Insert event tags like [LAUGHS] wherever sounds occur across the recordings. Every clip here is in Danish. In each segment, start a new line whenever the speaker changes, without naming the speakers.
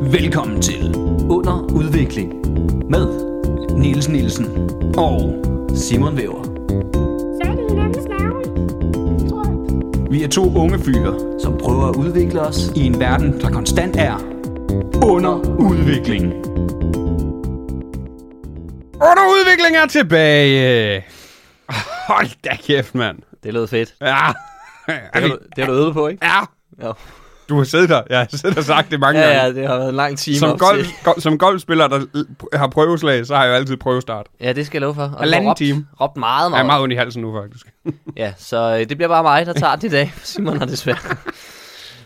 Velkommen til
Under udvikling med
Niels Nielsen og
Simon Væver,
Så er det hinandens navn. Tror jeg.
vi er to unge fyre
som prøver at udvikle os.
i en verden, der konstant er under udvikling.
Under udvikling er tilbage. Hold da kæft, mand.
Det lød fedt.
Ja. Er
Det har,
vi,
du, det har du øvet på, ikke?
ja.
Ja.
Du har siddet der. Jeg har siddet og sagt det mange
Ja,
gange.
ja, det har været en lang time
Som,
op
golf,
til.
go, som golfspiller, der l- har prøveslag, så har jeg jo altid prøvestart.
Ja, det skal jeg love for. Og
Halvanden
råbt-
time.
Råbt meget,
Jeg er
meget.
meget ondt i halsen nu, faktisk.
Ja, så øh, det bliver bare mig, der tager det i dag. [LAUGHS] Simon har desværre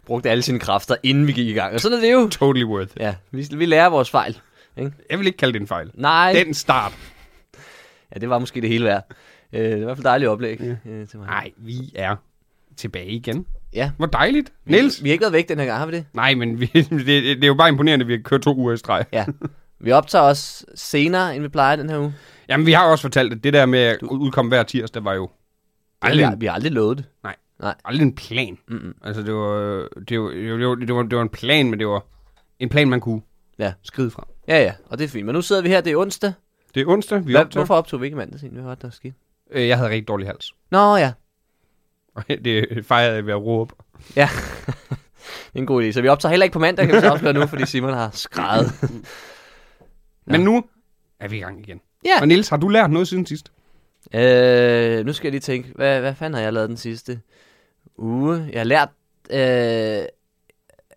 brugt alle sine kræfter, inden vi gik i gang. Og sådan er det jo.
Totally worth it.
Ja, vi, vi lærer vores fejl. Ikke?
Jeg vil ikke kalde det en fejl.
Nej,
Den start.
ja, det var måske det hele værd. Øh, det var i hvert fald dejligt oplæg øh, til mig.
Nej, vi er tilbage igen.
Ja.
Hvor dejligt. Niels.
Vi, vi har ikke været væk den her gang, har vi det?
Nej, men vi, [LAUGHS] det, det er jo bare imponerende, at vi har kørt to uger i streg.
Ja. Vi optager os senere, end vi plejer den her uge.
Jamen, vi har også fortalt, at det der med at udkomme hver tirsdag var jo
Vi har,
aldrig,
vi har aldrig lovet det.
aldrig en plan.
Mm-mm.
Altså, det var, det, var, det, var, det, var, det var en plan, men det var en plan, man kunne
Ja.
skride fra.
Ja, ja, og det er fint. Men nu sidder vi her, det er onsdag.
Det er onsdag, vi
Hvad,
optager.
hvorfor optog vi ikke i mandags egentlig? Hvad var det, der skete?
Øh, Jeg havde rigtig dårlig hals.
Nå ja,
Og [LAUGHS] det fejrede jeg ved at råbe.
ja. det er en god idé. Så vi optager heller ikke på mandag, kan vi så opklare nu, fordi Simon har skrevet.
Men nu er vi i gang igen.
Ja.
Og Niels, har du lært noget siden sidst?
Øh, nu skal jeg lige tænke, hvad, hvad fanden har jeg lavet den sidste uge? Jeg har lært, øh,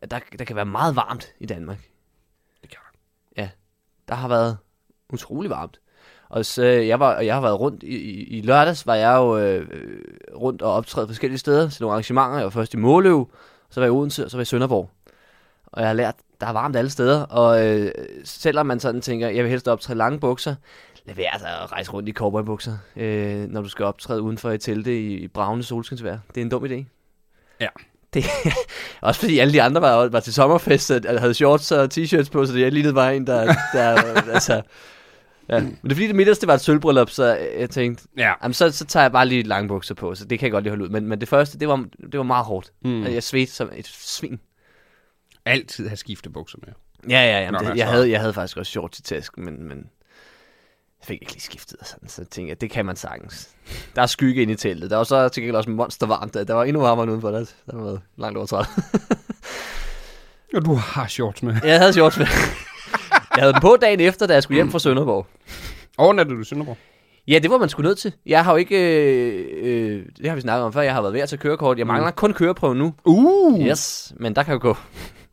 at der, der kan være meget varmt i Danmark.
Det kan
der. Ja, der har været utrolig varmt. Og så, øh, jeg, var, og jeg har været rundt i, i, i lørdags, var jeg jo øh, øh, rundt og optræde forskellige steder til nogle arrangementer. Jeg var først i Måløv, så var jeg i Odense, og så var jeg i Sønderborg. Og jeg har lært, der er varmt alle steder, og øh, selvom man sådan tænker, jeg vil helst optræde i lange bukser, lad være altså at rejse rundt i cowboybukser, øh, når du skal optræde udenfor i telte i, i bravende solskinsvejr. Det er en dum idé.
Ja.
Det, [LAUGHS] også fordi alle de andre var, var til sommerfest, og havde shorts og t-shirts på, så det lignede bare en, der... der
[LAUGHS]
altså, ja. Men det er fordi det midterste var et sølvbryllup, så jeg tænkte,
Ja.
jamen så, så tager jeg bare lige lange bukser på, så det kan jeg godt lige holde ud. Men, men det første, det var, det var meget hårdt.
Mm.
Mm. Jeg svedte som et svin.
Altid have skiftet bukser med.
Ja, ja, ja.
Nå,
men
men
Det, jeg,
altså-
havde, jeg havde faktisk også shorts i tasken, men, men jeg fik ikke lige skiftet og sådan, så tænkte jeg, det kan man sagtens. Der er skygge inde i teltet. Der var så til gengæld også monstervarmt. Der, der var endnu varmere end udenfor. Der, der var været langt over 30.
Og du har shorts med.
Jeg havde shorts med. [LAUGHS] Jeg havde dem på dagen efter, da jeg skulle hjem fra Sønderborg.
Overnattede du i Sønderborg?
Ja, det var man sgu nødt til. Jeg har jo ikke... Øh, øh, det har vi snakket om før. Jeg har været ved at tage kørekort. Jeg mangler kun køreprøve nu.
Uh!
Yes, men der kan jo gå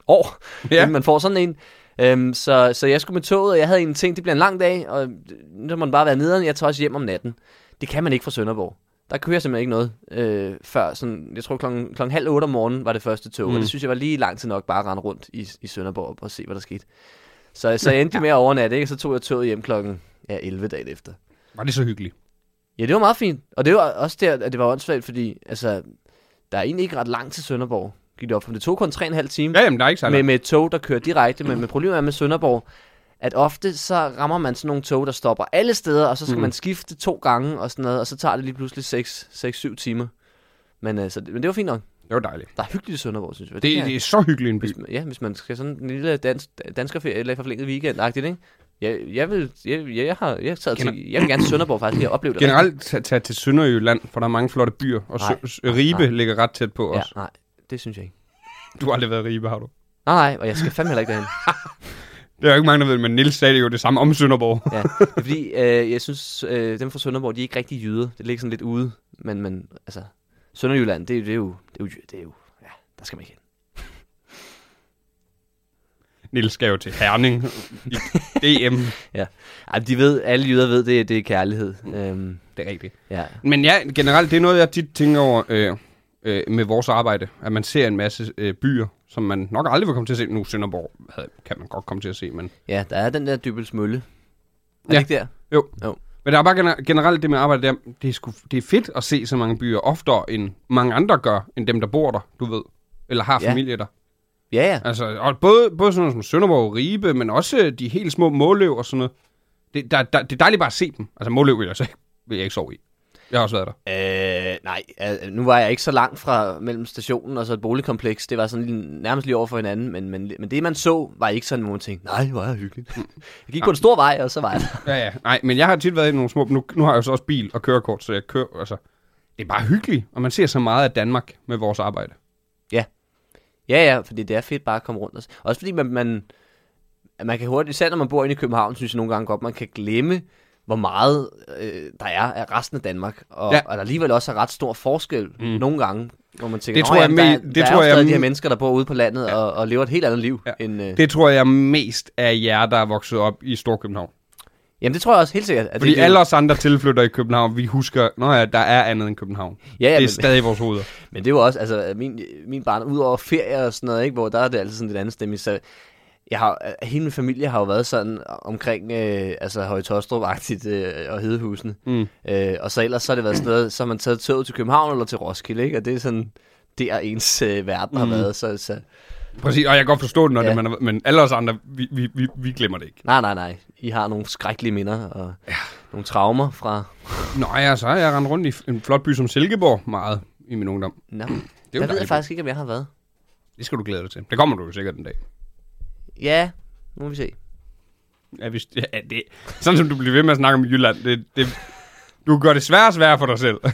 år,
[LAUGHS] Ja.
ja. inden man får sådan en. Øhm, så, så jeg skulle med toget, og jeg havde en ting, det bliver en lang dag, og nu må man bare være nederen, jeg tager også hjem om natten. Det kan man ikke fra Sønderborg. Der kører simpelthen ikke noget øh, før. Sådan, jeg tror klokken, klokken halv otte om morgenen var det første tog, mm. og det synes jeg var lige lang tid nok bare at rende rundt i, i Sønderborg og se, hvad der skete. Så, så jeg endte med at overnatte, ikke? og så tog jeg toget hjem klokken ja, 11 dagen efter.
Var det så hyggeligt?
Ja, det var meget fint. Og det var også der, at det var åndssvagt, fordi altså, der er egentlig ikke ret langt til Sønderborg. Gik det op for mig. Det tog kun 3,5 timer
Ja, jamen, der er ikke så
med,
langt.
med et tog, der kører direkte. Men, men problemet er med Sønderborg, at ofte så rammer man sådan nogle tog, der stopper alle steder, og så skal mm. man skifte to gange og sådan noget, og så tager det lige pludselig 6-7 timer. Men, altså, men det var fint nok.
Det var dejligt.
Der er hyggeligt i Sønderborg, synes jeg.
Det,
kan jeg-
det er så hyggeligt en by.
hvis, ja, hvis man skal sådan en lille dans, danskerferie eller forlænget weekend-agtigt, ikke? Jeg, jeg, vil, jeg, jeg, jeg, har, jeg, taget til, jeg vil gerne til Sønderborg faktisk, jeg har oplevet det.
Generelt tage tage til Sønderjylland, for der er mange flotte byer, og
Nej.
Sø- Ribe
Nej.
ligger ret tæt på
Ja,
os.
nej, det synes jeg ikke.
Du har aldrig været i Ribe, har du?
Nej, nej, og jeg skal fandme heller ikke derhen.
Det er jo ikke mange, der ved, men Nils sagde det jo det samme om Sønderborg.
Ja, det er fordi øh, jeg synes, øh, dem fra Sønderborg, de er ikke rigtig jyder. Det ligger sådan lidt ude. Men, men altså, Sønderjylland, det, det, er jo, det er jo, jy- det er jo, ja, der skal man ikke hen.
Nils skal jo til Herning i DM.
Ej, de ved, alle jyder ved, det, det er kærlighed. Øhm,
[LAUGHS] Det er rigtigt.
ja.
Men ja, generelt, det er noget, jeg tit tænker over øh, øh, med vores arbejde. At man ser en masse øh, byer, som man nok aldrig vil komme til at se. Nu Sønderborg havde, kan man godt komme til at se, men...
ja, der er den der Dybels Mølle. Er
Ja.
det ikke der?
Jo.
Jo.
Men der er bare gener- generelt det med arbejde, det er, det, er sgu, det er fedt at se så mange byer oftere, end mange andre gør, end dem, der bor der, du ved. Eller har
Ja.
familie der.
Ja, ja.
Altså, og både, både sådan noget som Sønderborg og Ribe, men også øh, de helt små Måløv og sådan noget. Det, der, der, det er dejligt bare at se dem. Altså, Måløv vil jeg, så, ikke- vil jeg ikke sove i. Jeg har også været der.
Øh, nej, øh, nu var jeg ikke så langt fra mellem stationen og så et boligkompleks. Det var sådan lige, nærmest lige over for hinanden, men, men, men det, man så, var ikke sådan, hvor man tænkte, nej, hvor er jeg hyggelig. [LAUGHS] jeg gik på en stor vej, og så var jeg der.
Ja, ja. Nej, men jeg har tit været i nogle små... Nu, nu har jeg jo så også bil og kørekort, så jeg kører... Altså, det er bare hyggeligt, og man ser så meget af Danmark med vores arbejde.
Ja, ja, fordi det er fedt bare at komme rundt. Og, s- også fordi man, man, man kan hurtigt, især når man bor inde i København, synes jeg nogle gange godt, man kan glemme, hvor meget øh, der er af resten af Danmark. Og,
Ja.
ja. og der alligevel også er ret stor forskel mm. nogle gange, hvor man tænker,
Det
"Nå
tror jeg
jamen, der, er-
me- det
der
tror
er jo
jeg
stadig
me-
de her mennesker, der bor ude på landet og, og lever et helt andet liv.
Ja.
Ja. End, øh,
Det tror jeg mest af jer, der er vokset op i Storkøbenhavn.
jamen det tror jeg også helt sikkert. At det-
Fordi
det,
alle os andre tilflytter i København, vi husker, når ja, der er andet end København.
ja, ja,
det er
men-
stadig i vores hoveder.
Men det er jo også, altså min, min barn, udover ferie og sådan noget, ikke, hvor der er det altid sådan lidt andet stemning, så jeg har, øh, hele min familie har jo været sådan omkring øh, altså Høje Tostrup-agtigt øh, og Hedehusene.
Mm.
Øh, og så ellers så har det været sådan noget, så har man taget toget til København eller til Roskilde, ikke? og det er sådan, det er ens øh, verden
Mm.
har været. Så, så,
Præcis, og jeg kan godt forstå det, når ja.
Ja.
det man er, men alle os andre, vi, vi, vi, vi glemmer det ikke.
nej, nej, nej. I har nogle skrækkelige minder og ja. nogle traumer fra...
Nå ja, så har jeg rendt rundt i en flot by som Silkeborg meget i min ungdom.
Nå,
Det er jo
det der ved jeg
dejligt.
faktisk ikke, om jeg har været.
Det skal du glæde dig til. Det kommer du jo sikkert en dag.
Ja, nu må vi se.
Ja, hvis, ja, det, sådan som du bliver ved med at snakke om Jylland, det, det, du gør det sværere og sværere for dig selv. [LAUGHS]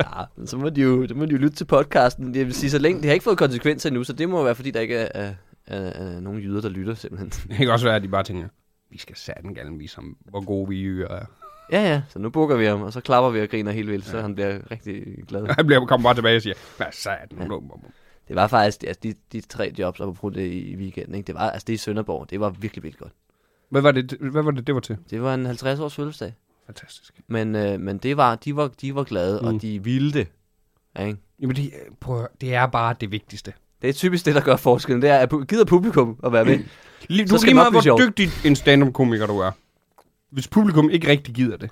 Ja, men så må de jo, så må de jo lytte til podcasten. Jeg vil sige, så længe, det har ikke fået konsekvenser endnu, så det må være, fordi der ikke er, er, er, er nogen jyder, der lytter simpelthen.
Det kan også være, at de bare tænker, vi skal satan gerne vise ham, hvor gode vi jyder er.
Ja, ja, så nu bukker vi ham, og så klapper vi og griner helt vildt, så han bliver rigtig glad.
Han bliver kommer bare tilbage og siger, hvad satan, ja.
Det var faktisk, altså de, de tre jobs, og på det i i weekenden, ikke? det var, altså det i Sønderborg, det var virkelig, virkelig godt.
Hvad var det, hvad var det, det var til?
Det var en 50-års fødselsdag,
Fantastisk.
men, øh, men det var, de, var, de var glade, mm. og de ville det. Ja, ikke?
Jamen, det, prøv, at høre, det er bare det vigtigste.
Det er typisk det, der gør forskellen, det er, at pu- gider publikum at være med.
Du
Så
er lige
skal
meget,
det nok blive
hvor
sjovt.
dygtig en stand-up-komiker du er. Hvis publikum ikke rigtig gider det,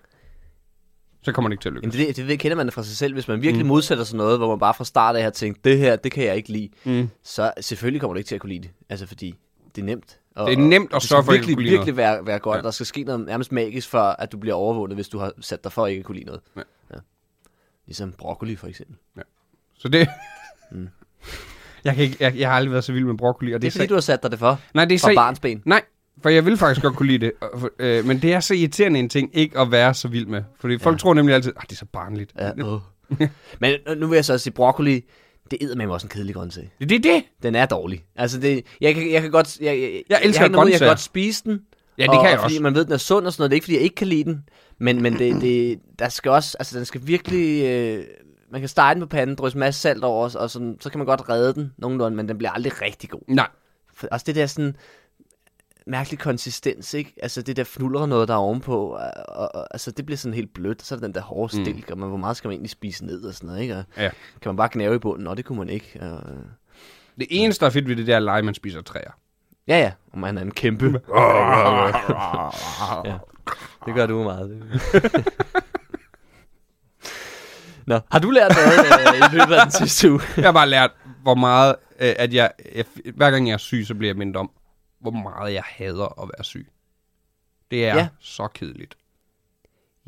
så kommer det ikke til at lykkes.
Jamen det, det, det kender man fra sig selv, hvis man virkelig mm. modsætter sig noget, hvor man bare fra start af har tænkt, det her, det kan jeg ikke lide,
Mm.
så selvfølgelig kommer du ikke til at kunne lide det. Altså fordi, det er nemt. Og,
Det er nemt at
det
sørge
skal
for, at ikke
virkelig,
kunne lide
virkelig være, være godt.
Ja.
Ja. Der skal ske noget nærmest magisk, for at du bliver overvåget, hvis du har sat dig for at ikke at kunne lide noget.
Ja.
Ja. Ligesom broccoli for eksempel. Det,
Så det... Mm. jeg, kan ikke, jeg, jeg har aldrig været så vild med broccoli, og det,
det er fordi,
så-
du har sat dig det for.
Nej, det er
Fra
så...
barnsben.
Nej, for jeg vil faktisk godt kunne lide det. og for- Øh, men det er så irriterende en ting ikke at være så vild med. Fordi folk tror nemlig altid, at det er så barnligt. [LAUGHS]
Ja, åh. Men nu- nu vil jeg så også sige, broccoli, det er med også en kedelig grøntsag.
Det, det er det.
Den er dårlig. Altså, det, jeg, kan, jeg kan godt... Jeg, jeg,
Jeg elsker
jeg, har ikke noget imod, jeg kan
grøntsager.
godt spise den.
Ja, det
og,
kan jeg
og fordi
også.
man ved, den er sund og sådan noget. Det er ikke, fordi jeg ikke kan lide den. Men, men det, det, der skal også... Altså, den skal virkelig... Øh, man kan stege den på panden, drysse en masse salt over, os, og sådan, så kan man godt redde den nogenlunde, men den bliver aldrig rigtig god.
Nej.
For, også det der sådan mærkelig konsistens, ikke? Altså det der fnuller noget, der er ovenpå, og, og, og, altså det bliver sådan helt blødt, så er der den der hårde stilk, mm. og man, hvor meget skal man egentlig spise ned og sådan noget, ikke? Og
Ja.
Kan man bare gnave i bunden? Nå, det kunne man ikke. Og,
Det eneste, der er fedt ved det, der er at lege, man spiser træer.
ja, ja, og man er en kæmpe. [LAUGHS] Ja. Det gør du meget. [LAUGHS] Det. Nå, har du lært noget øh, i løbet af den sidste uge?
Jeg har bare lært, hvor meget, øh, at jeg, jeg, hver gang jeg er syg, så bliver jeg mindet om, hvor meget jeg hader at være syg. Det er ja.
Ja.
så kedeligt.
[LAUGHS]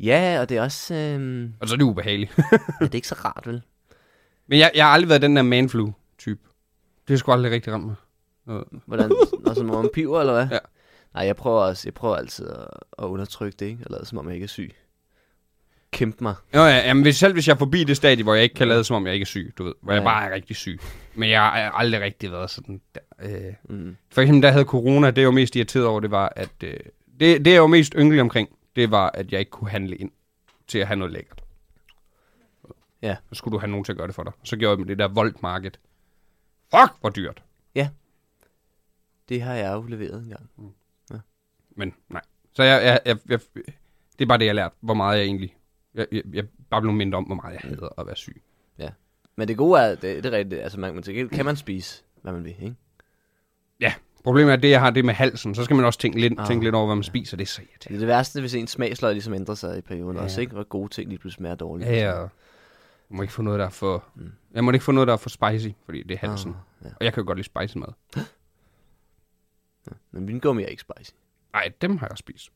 Ja, og det er også... Øh,
Og så er det ubehageligt.
ja, det er ikke så rart, vel?
Men jeg, jeg har aldrig været den der manflu-type. Det er sgu aldrig rigtig ramt mig. Noget.
Hvordan, når sådan nogle piver, eller hvad?
Ja.
Nej, jeg prøver, også, jeg prøver altid at, at undertrykke det, ikke? Og lade som om jeg ikke er syg. Kæmpe mig.
Nå ja, jamen, hvis, selv hvis jeg er forbi det stadie, hvor jeg ikke kan lade som om, jeg ikke er syg, du ved. Hvor jeg
Ja.
bare er rigtig syg. Men jeg har aldrig rigtig været sådan der. Øh.
Mm.
For eksempel, der havde corona, det jeg var mest irriteret over, det var, at... Øh, det, det, jeg var mest ynglig omkring, det var, at jeg ikke kunne handle ind til at have noget lækkert.
Ja.
Så skulle du have nogen til at gøre det for dig. Så gjorde jeg dem det der Volt Market. Fuck, hvor dyrt.
Det har jeg jo leveret engang.
Men nej. Så jeg, jeg, jeg, jeg, det er bare det, jeg har lært, hvor meget jeg egentlig... Jeg, jeg, jeg er bare blev mindre om, hvor meget jeg hader at være syg.
Ja. Men det gode er, det, det er rigtigt, altså man, man til gengæld kan man spise, hvad man vil, ikke?
Ja, problemet er, at det, jeg har det med halsen, så skal man også tænke lidt,
Ah.
tænke lidt over, hvad man spiser. Det er så
Det
irriterende.
er det værste, hvis ens smagsløg ligesom ændrer sig i perioden. Ja. Også ikke, hvor gode ting lige pludselig smager dårligt.
Ja, Mm. ja. Jeg må ikke få noget, der er for... Jeg må ikke få noget, der er for spicy, fordi det er halsen.
Ah, ja.
Og jeg kan jo godt lide spicy mad.
Men vingummi er ikke spicy.
Nej, dem har jeg spist.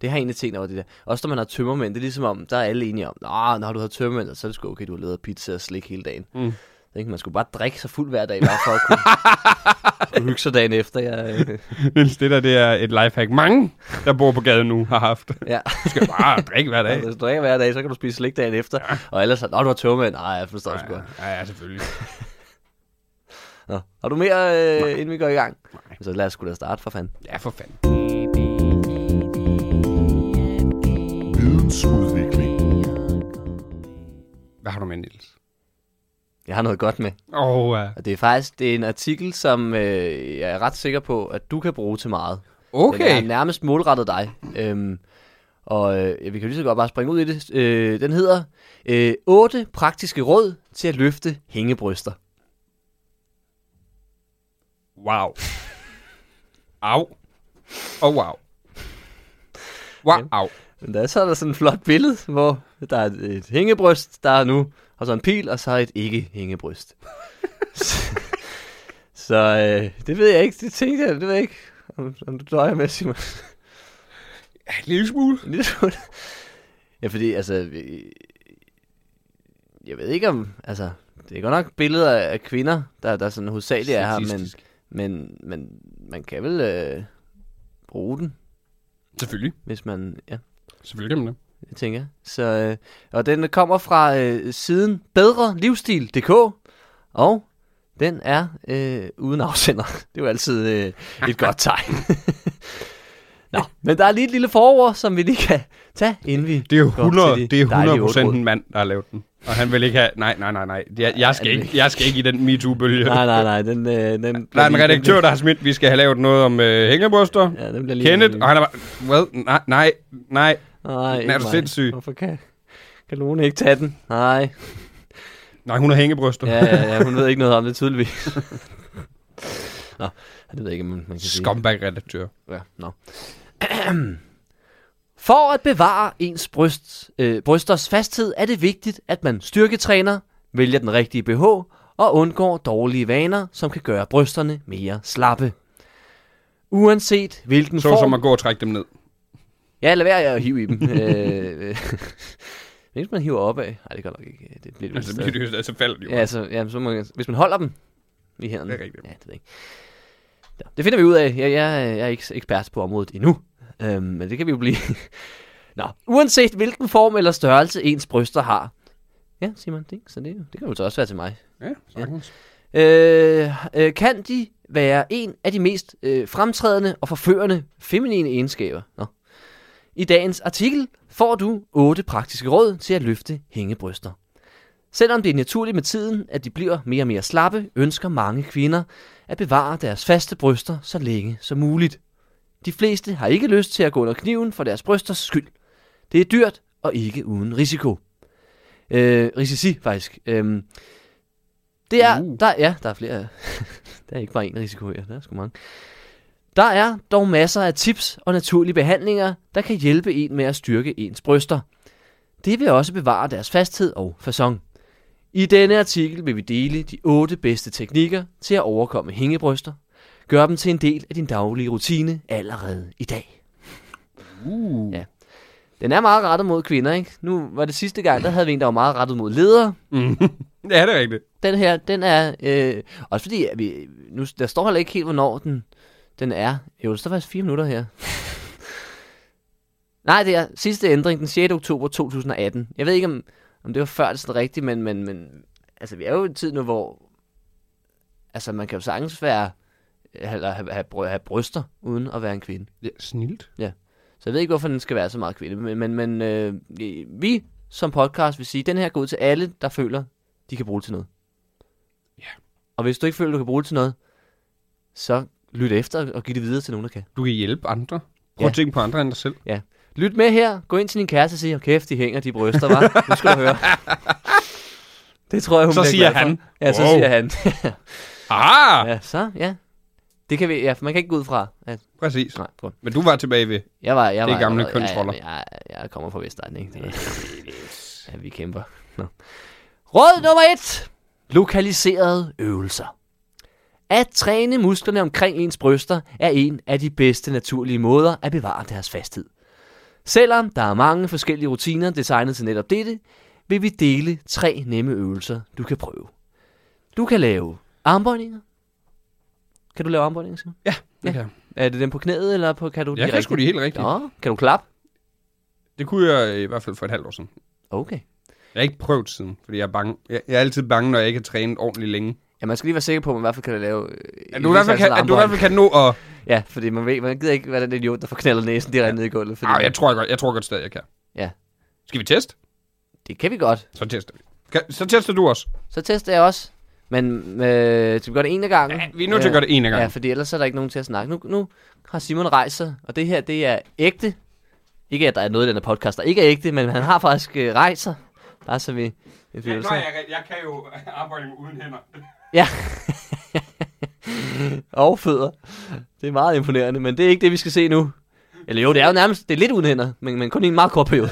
Det har jeg egentlig tænkt over det der. Også når man har tømmermænd, det er ligesom om, der er alle enige om, Nå, når du har tømmermænd, så er det sgu okay, du har lavet pizza og slik hele dagen. Mm. Ikke? Man skulle bare drikke sig fuld hver dag, bare for at kunne, [LAUGHS] kunne hygge sig dagen efter. Jeg, øh,
[LAUGHS] Niels, det der, det er et lifehack. Mange, der bor på gaden nu, har haft.
ja.
Du skal bare drikke hver dag.
Hvis du drikker hver dag, så kan du spise slik dagen efter. Ja. Og ellers, så, Nå, du har tømmermænd. Nej, jeg forstår sgu
Ja,
godt.
ja, ja, selvfølgelig.
Nå. Har du mere, øh, inden vi går i gang? Nej. Så lad os sgu da starte, for fanden.
Ja, for fanden. Hvad har du med, Niels?
Jeg har noget godt med.
Åh, oh, uh,
Og det er faktisk det er en artikel, som øh, jeg er ret sikker på, at du kan bruge til meget. Den er
okay.
nærmest målrettet dig. Øhm, og øh, ja, vi kan jo lige så godt bare springe ud i det. Øh, den hedder øh, 8 praktiske råd til at løfte hængebryster.
Wow. Au. Og wow. Wow.
Men der, så er der sådan et flot billede, hvor der er et, et hængebryst, der er nu, og så en pil, og så et ikke-hængebryst. så [LAUGHS] så øh, det ved jeg ikke. Det tænkte jeg, det ved jeg ikke, om, om du døjer med, Simon.
Ja, En lille smule.
En lille smule. Ja, fordi altså... øh, Jeg ved ikke om... Altså, det er godt nok billeder af kvinder, der, der sådan hovedsageligt er her, men,
Statistisk.
men, men man kan vel øh, bruge den,
Selvfølgelig.
hvis man... Ja,
Selvfølgelig kan man det.
det tænker jeg. Så, øh, og den kommer fra øh, siden bedrelivsstil.dk, og den er øh, uden afsender. [LAUGHS] Det er jo altid øh, et godt tegn. [LAUGHS] Nå, men der er lige et lille forord, som vi lige kan tage, inden vi
Det er jo
går til
100,
de
det er
dejlige
100 procent
otte
en mand, der har lavet den. Og han vil ikke have... Nej, nej, nej, nej. Jeg, jeg, skal,
han vil
ikke, jeg skal ikke i den MeToo-bølge.
Nej, nej, nej. Den, øh, den
Der er en
den-
redaktør, der har smidt, vi skal have lavet noget om øh, hængebryster.
Ja, den bliver lige...
Kenneth, og han er bare... Well, nej, nej, nej.
Nej,
er
ikke
du
mig.
sindssyg?
Hvorfor kan, kan Lone ikke tage den? Nej.
Nej, hun har hængebryster.
Ja, ja, ja. Hun ved ikke noget om
[LAUGHS]
det, tydeligvis. Nå, det ved jeg ikke, om man, man kan sige.
Scumbag-redaktør.
Ja, nå. [CLEARS THROAT] For at bevare ens bryst, øh, brysters fasthed, er det vigtigt, at man styrketræner, vælger den rigtige BH og undgår dårlige vaner, som kan gøre brysterne mere slappe. Uanset hvilken
Så
form...
som at gå og trække dem ned.
Ja, lad være at hive i dem. øh, [LAUGHS] øh, hvis man hiver op af... Nej, det gør nok ikke. Det bliver det
Altså, bliver det, altså falder de jo.
Ja, altså, ja, så må, man- hvis man holder dem i hænderne.
Det er rigtigt.
Ja, det ved jeg ikke. Nå, Det finder vi ud af. Jeg, jeg, jeg er ikke ekspert på området endnu. Øhm, men det kan vi jo blive. [LAUGHS] Nå, uanset hvilken form eller størrelse ens bryster har. Ja, siger man det. ikke? Så det, det kan jo så også være til mig.
Ja, sagtens.
Øh, øh, kan de være en af de mest øh, fremtrædende og forførende feminine egenskaber? Nå. I dagens artikel får du 8 praktiske råd til at løfte hængebryster. Selvom det er naturligt med tiden, at de bliver mere og mere slappe, ønsker mange kvinder at bevare deres faste bryster så længe som muligt. De fleste har ikke lyst til at gå under kniven for deres brysters skyld. Det er dyrt og ikke uden risiko. Øh, risici faktisk. Øhm, det er,
Uh.
uh. der, ja, der er flere. [LAUGHS] der er ikke bare en risiko her, der er sgu mange. Der er dog masser af tips og naturlige behandlinger, der kan hjælpe en med at styrke ens bryster. Det vil også bevare deres fasthed og fason. I denne artikel vil vi dele de 8 bedste teknikker til at overkomme hængebryster. Gør dem til en del af din daglige rutine allerede i dag.
Uh.
Ja. Den er meget rettet mod kvinder, ikke? Nu var det sidste gang, der havde vi en, der var meget rettet mod ledere.
Mm. [LAUGHS] Ja, det er rigtigt.
Den her, den er... Øh, også fordi, at vi, nu, der står heller ikke helt, hvornår den, den er. Jo, der står faktisk fire minutter her. Nej, det er sidste ændring den 6. oktober 2018. Jeg ved ikke, om, om det var før det sådan rigtigt, men, men, men altså, vi er jo i en tid nu, hvor altså, man kan jo sagtens være, eller have, have, bry- have bryster, uden at være en kvinde.
Ja, snilt.
Så jeg ved ikke, hvorfor den skal være så meget kvinde. Men, men, men øh, vi som podcast vil sige, at den her går ud til alle, der føler, de kan bruge det til noget.
Ja.
Og hvis du ikke føler, du kan bruge det til noget, så lyt efter og giv det videre til nogen, der kan.
Du kan hjælpe andre. Prøv at
Ja.
tænke på andre end dig selv.
Ja. Lyt med her. Gå ind til din kæreste og sig, "Hold kæft, de hænger de bryster,
[LAUGHS]
var. Nu skal du høre. Det tror jeg, hun
Så
bliver
siger
glad for.
han,
Ja, så
"Wow."
siger han.
Aha! Ja.
ja, så, ja. Det kan vi, ja, for man kan ikke gå ud fra. At,
Præcis.
nej, prøv.
Men du var tilbage ved...
Jeg var, jeg
Det er
var,
gamle
jeg, var- ja,
kønsroller.
Ja, jeg, jeg kommer fra Vestegn, ikke? Det er- Ja, vi kæmper. Nå. Råd nummer et. Lokaliserede øvelser. At træne musklerne omkring ens bryster er en af de bedste naturlige måder at bevare deres fasthed. Selvom der er mange forskellige rutiner designet til netop dette, vil vi dele tre nemme øvelser, du kan prøve. Du kan lave armbøjninger. Kan du lave armbøjninger, Simon?
Det her.
Er det den på knæet, eller på, kan du
Jeg
de
kan sgu de helt rigtigt.
Nå, kan du klappe?
Det kunne jeg øh, i hvert fald for et halvt år siden.
Okay.
Jeg har ikke prøvet siden, fordi jeg er bange. Jeg, jeg er altid bange, når jeg ikke har trænet ordentligt længe.
Ja, man skal lige være sikker på, at man i hvert fald kan lave... øh,
At
en
du, i hvert fald
vis
kan,
antal
at du i hvert fald kan nå at...
armbøjninger. Ja, fordi man, ved, man gider ikke være den idiot, der får knaldet næsen direkte ned i gulvet. Fordi
Ej, Ah, jeg tror jeg godt, jeg tror godt stadig, jeg kan.
Ja.
Skal vi teste?
Det kan vi godt.
Så tester vi. Kan, så tester du også.
Så tester jeg også. Men øh, skal vi gøre det en af gangen? Øh,
Ja, vi er nødt til at gøre det en af gangen.
Ja, fordi ellers er der ikke nogen til at snakke. Nu, nu har Simon rejst sig, og det her, det er ægte. Ikke, at der er noget i den her podcast, der ikke er ægte, men han har faktisk øh, rejst sig. Bare så vi... Ja,
jeg, jeg kan jo arbejde uden hænder.
Ja. [LAUGHS] og fødder. Det er meget imponerende, men det er ikke det, vi skal se nu. Eller jo, det er jo nærmest, det er lidt uden hænder, men, men kun i en meget kort periode.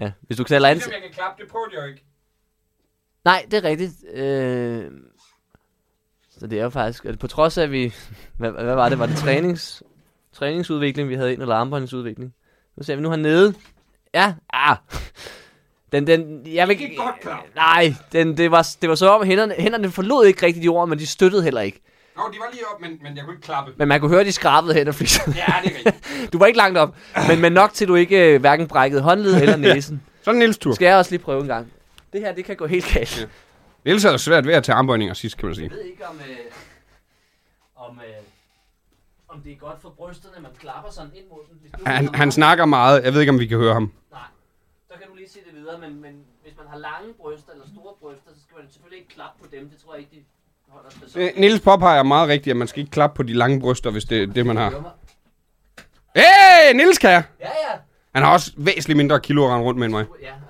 Ja, hvis du knalder ansigt.
jeg kan klappe, det prøvede jeg jo ikke.
Nej, det er rigtigt. Øh... Så det er jo faktisk, at på trods af, at vi... [LAUGHS] Hvad, hvad var det? Var det trænings... træningsudvikling, vi havde ind, eller armbåndingsudvikling? Nu ser vi nu hernede. Ja, ah. Den, den, jeg vil
Det gik godt, Claus.
Nej, den, det, var, det var så om, at hænderne, hænderne forlod ikke rigtigt jorden, men de støttede heller ikke.
Nå, de var lige op, men, men jeg kunne ikke klappe.
Men man kunne høre, de skrabede hænder, fordi
Ja, det er rigtigt.
du var ikke langt op. Men, men nok til, du ikke øh, hverken brækkede håndled eller næsen.
[LAUGHS] Så er det Niels tur.
Skal jeg også lige prøve en gang? Det her, det kan gå helt galt.
Niels havde svært ved at tage armbøjninger sidst, kan man sige.
Jeg ved ikke, om, øh, om, øh, om det er godt for brysterne, at man klapper sådan ind mod den. Hvis du
Han, han snakker meget. Jeg ved ikke, om vi kan høre ham.
Nej, så kan du lige se det videre, men, men hvis man har lange bryster eller store bryster, så skal man selvfølgelig ikke klappe på dem. Det tror jeg ikke, de holder sig så.
Øh, Niels påpeger meget rigtigt, at man skal ikke klappe på de lange bryster, hvis det er det, man har.
Hører mig?
Hey, Niels kan!
Ja, ja.
Han har også væsentligt mindre kilo at rende rundt med end mig.
Ja, altså.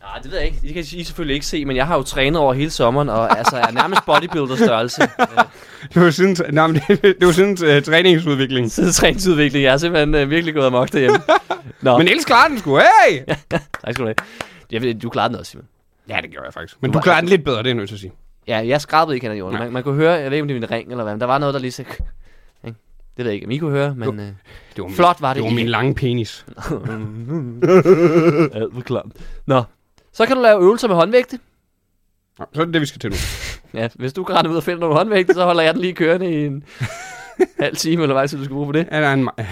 Nej, det ved jeg ikke. Det kan I selvfølgelig ikke se, men jeg har jo trænet over hele sommeren, og altså, jeg er nærmest bodybuilder-størrelse. [LAUGHS]
Det var siden, nej, men det, det var siden uh, træningsudvikling.
Siden træningsudvikling, jeg er simpelthen øh, virkelig gået amok [LAUGHS] derhjemme. Nå,
Men
men...
Niels klarer den sgu, hey!
tak skal du have. Jeg ved, du klarede den også, Simon.
Ja, det gjorde jeg faktisk. Men du klarer den lidt bedre, det er jeg nødt til at sige.
Ja, jeg skrabede ikke hen jorden.
Nej.
Man, man kunne høre, jeg ved ikke, om det var min ring eller hvad, men der var noget, der lige så... Ikke? Det ved jeg ikke, om I kunne høre, men... Øh,
Det var min,
Flot var det
Det var
ikke.
min lange penis.
[LAUGHS] alt var klamt. Nå, så kan du lave øvelser med håndvægte.
Nå, så er det det, vi skal til nu.
Ja, hvis du kan rende ud og finde nogle håndvægte, så holder jeg den lige kørende i [LAUGHS] en halv time, eller hvad så du skal bruge på det.
Er der en, der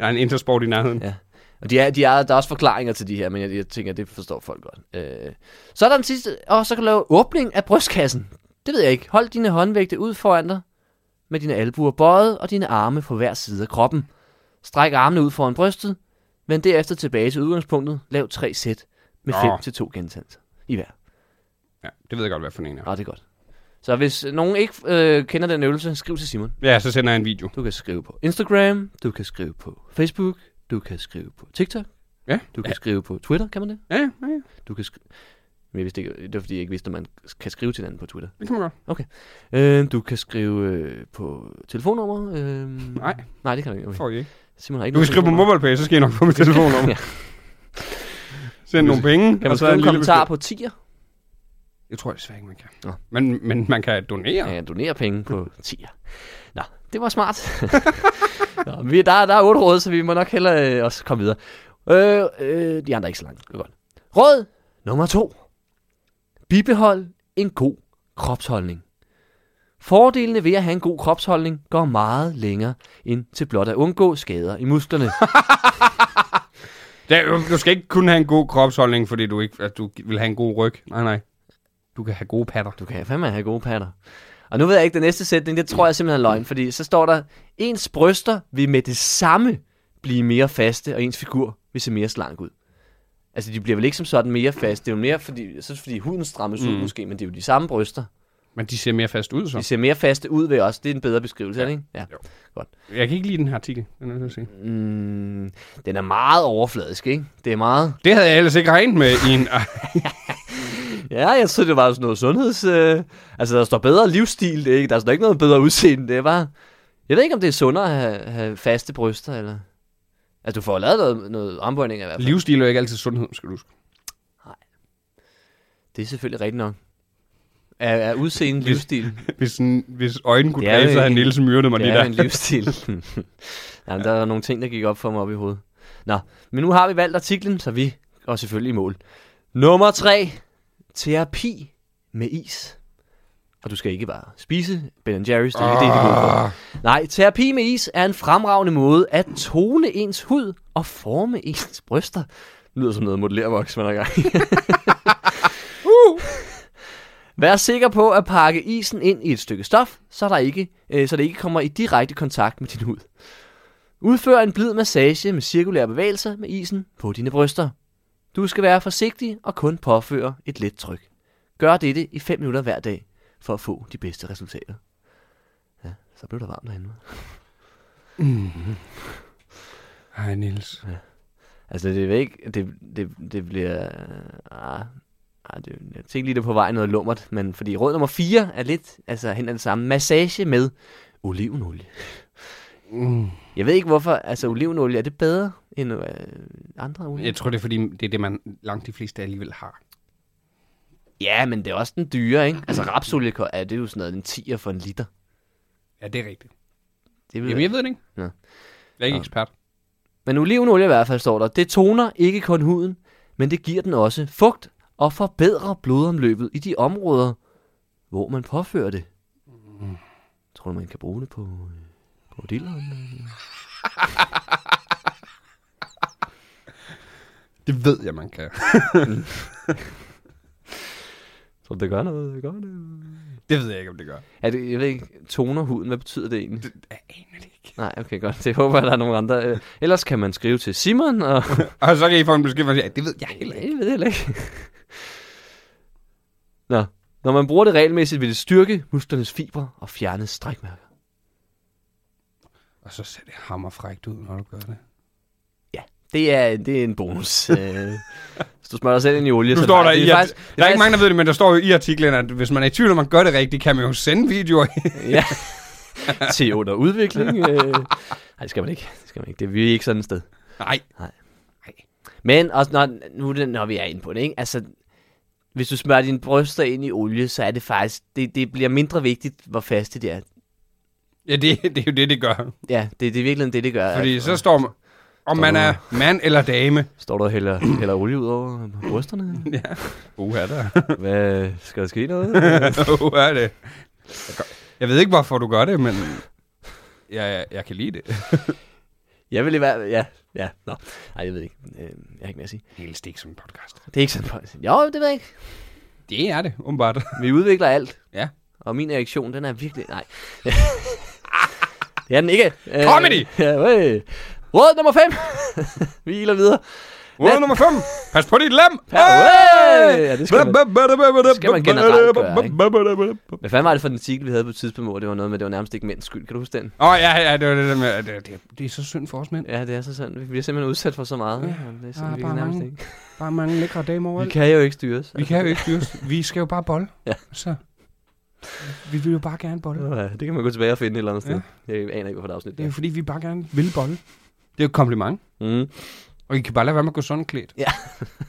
[LAUGHS] er en intersport i nærheden?
Ja. Og de er, de er, der er også forklaringer til de her, men jeg, jeg tænker, det forstår folk godt. Øh, så er der den sidste, og så kan du lave åbning af brystkassen. Det ved jeg ikke. Hold dine håndvægte ud foran dig, med dine albuer bøjet og dine arme på hver side af kroppen. Stræk armene ud foran brystet, vend derefter tilbage til udgangspunktet. Lav tre sæt med
Nå.
5 til to gentagelser i hver.
Ja, det ved jeg godt, hvad for en er.
Nå, det er godt. Så hvis nogen ikke øh, kender den øvelse, skriv til Simon.
Ja, så sender jeg en video.
Du kan skrive på Instagram, du kan skrive på Facebook, du kan skrive på TikTok,
Ja.
du kan skrive på Twitter, kan man det?
Ja, ja, ja.
Du kan skrive... Men jeg vidste ikke, det var fordi, jeg ikke vidste, at man kan skrive til hinanden på Twitter.
Det kan man godt.
Øh, du kan skrive øh, på telefonnummer. Øh,
Nej.
Nej, det kan du ikke. Okay.
Får I ikke.
Simon har ikke
Mm. Du kan
noget
skrive på
telefonnummer.
MobilePay, så skal I nok få mit [LAUGHS] telefonnummer.
Ja.
Send nogle penge.
Kan man
og så
skrive en
lille
kommentar
besked.
på tier?
Jeg tror desværre ikke, man kan.
Nå.
Men, men man kan donere.
Ja, jeg donerer penge på tier. Nå, det var smart. [LAUGHS] Nå, vi, der, der er otte råd, så vi må nok hellere øh, også komme videre. Øh, øh, de andre er ikke så langt. Det er godt. Råd nummer to. Bibehold en god kropsholdning. Fordelene ved at have en god kropsholdning går meget længere end til blot at undgå skader i musklerne.
Det er jo- Du skal ikke kun have en god kropsholdning, fordi du ikke at du vil have en god ryg. Nej, nej. Du kan have gode patter.
Du kan fandme have gode patter. Og nu ved jeg ikke, den næste sætning, det tror jeg simpelthen er løgn, fordi så står der, ens bryster vil med det samme blive mere faste, og ens figur vil se mere slank ud. Altså, de bliver vel ikke som sådan mere faste. Det er jo mere, fordi, så er det fordi huden strammes ud måske, men det er jo de samme bryster.
Men de ser mere fast ud,
De
så.
ser mere faste ud ved os. Det er en bedre beskrivelse, er det ikke? Ja.
Jo. Jeg kan ikke lide den her artikel, den er jeg nødt til at sige.
Mm, den er meget overfladisk, ikke? Det er meget...
Det havde jeg ellers ikke regnet med i en... ah,
Ja, jeg synes, det var sådan noget sundheds... Øh, altså, der står bedre livsstil, det er ikke? Der står ikke noget bedre udseende, det er bare... Jeg ved ikke, om det er sundere at have, have faste bryster, eller... Altså, du får lavet noget, noget armbøjning i hvert fald.
Livsstil er jo ikke altid sundhed, skal du huske.
Det er selvfølgelig rigtigt nok. Er, er udseende en livsstil?
Hvis, en, hvis øjnene kunne
Det er jo
dræbe, så havde
en-
Niels myrdet mig lige
Det er jo en
der. [LAUGHS]
livsstil. Jamen, der er nogle ting, der gik op for mig op i hovedet. Nå, men nu har vi valgt artiklen, så vi går selvfølgelig i mål. Nummer 3. Terapi med is. Og du skal ikke bare spise Ben Jerry's, det er ikke det, de er gode for. Nej, terapi med is er en fremragende måde at tone ens hud og forme ens bryster. Det lyder som noget modellervoks, man er i gang. i. Uh. Vær sikker på at pakke isen ind i et stykke stof, så, der ikke, øh, så det ikke kommer i direkte kontakt med din hud. Udfør en blid massage med cirkulære bevægelser med isen på dine bryster. Du skal være forsigtig og kun påføre et let tryk. Gør dette i 5 minutter hver dag for at få de bedste resultater. Ja, så blev der varmt derinde.
[LAUGHS] Hej, Niels.
Altså, det er ikke... Det, det, det bliver... Ah, ah, det, jeg tænkte lige, det er på vej noget lummert, men fordi råd nummer 4 er lidt altså, hen ad det samme. Massage med olivenolie.
Mm.
Jeg ved ikke, hvorfor... Altså, olivenolie, er det bedre end øh, andre olier?
Jeg tror, det er, fordi det er det, man langt de fleste alligevel har.
Ja, men det er også den dyre, ikke? Altså, rapsolie, er det er jo sådan noget, en 10'er for en liter.
Ja, det er rigtigt.
Det vil
Jamen, jeg ved det ikke.
Ja.
Jeg er ikke
Nå.
ekspert.
Men olivenolie i hvert fald står der. Det toner ikke kun huden, men det giver den også fugt og forbedrer blodomløbet i de områder, hvor man påfører det. Mm. Tror du, man kan bruge det på øh, krokodillerne?
Det ved jeg, man kan.
Tror du, det gør noget? Det gør det.
Det ved jeg ikke, om det gør.
Er det, jeg ved ikke, toner huden, hvad betyder det egentlig?
Jeg aner det ikke.
Nej, okay, godt. Det håber jeg, der er nogen andre. Øh, Ellers kan man skrive til Simon, og
Og så kan I få en besked, hvor jeg siger, "Ja, det ved jeg
[LAUGHS]
heller ikke.
Jeg ved heller ikke. Nå, når man bruger det regelmæssigt, vil det styrke musklernes fibre og fjerne strækmærker.
Og så ser det hammerfrægt ud, når du gør det.
Ja, det er, det er
[LAUGHS]
en bonus. Øh, Hvis du smører dig selv ind i olie,
Nu
så
står
nej,
der
det
i,
er
at,
faktisk, det
der er ikke
faktisk-
mange, der ved det, men der står jo i artiklen, at hvis man er i tvivl, om man gør det rigtigt, kan man jo sende videoer. [LAUGHS]
[LAUGHS] ja. til under udvikling. Øh. Nej, det skal man ikke. Det skal man ikke. Det er vi er ikke sådan et sted.
Nej.
Men også når, nu er det, når vi er inde på det, ikke? Altså, hvis du smører dine bryster ind i olie, så er det faktisk, det, det bliver mindre vigtigt, hvor faste det er.
Ja, det, det er jo det, det gør.
Ja, det, det er virkelig det, det gør.
Fordi
at-
så står man, om man er mand eller dame.
Står du og hælder, hælder olie ud over
[LAUGHS]
brysterne?
Uha, der.
Hvad, skal der ske noget?
[LAUGHS] Uha, det. Jeg gør- Jeg ved ikke, hvorfor du gør det, men jeg, jeg, jeg kan lide det.
jeg vil i hvert ja, ja, nå. Nej, jeg ved ikke. Øh, jeg har ikke mere at sige.
Helt stik som en podcast.
Det er ikke sådan, på- jo, det ved jeg ikke.
Det er det, åbenbart.
Vi udvikler alt.
Ja.
Og min erektion, den er virkelig, nej. det er den ikke. Øh,
Comedy!
Ja, øh. Råd nummer 5. vi iler videre.
Råd nummer 5. Pas på dit lem.
Hey! Ja, det skal man-
man,
skal man generelt gøre, Hvad fanden var det for den artikel, vi havde på et tidspunkt, hvor det var noget med, det var nærmest ikke mænds skyld. Kan du huske den?
Åh, oh, ja, ja, det var det der med, at det, det, det er så synd for os mænd.
Ja, det er så sådan. Vi bliver simpelthen udsat for så meget. Ja, det er sådan,
der
vi
er bare
kan nærmest
mange.
ikke.
Bare mange lækre damer
Vi
overalt.
kan jo ikke styres.
Vi kan jo ikke styres. Vi skal jo bare bolle.
Ja.
Så. Vi vil jo bare gerne bolle.
Åh, ja, det kan man gå tilbage og finde et eller andet sted. Jeg aner ikke, hvorfor der er afsnit
Det er
der.
jo fordi, vi bare gerne vil bolle. Det er jo et kompliment.
Mm.
Og I kan bare lade være med at gå sådan klædt.
Ja.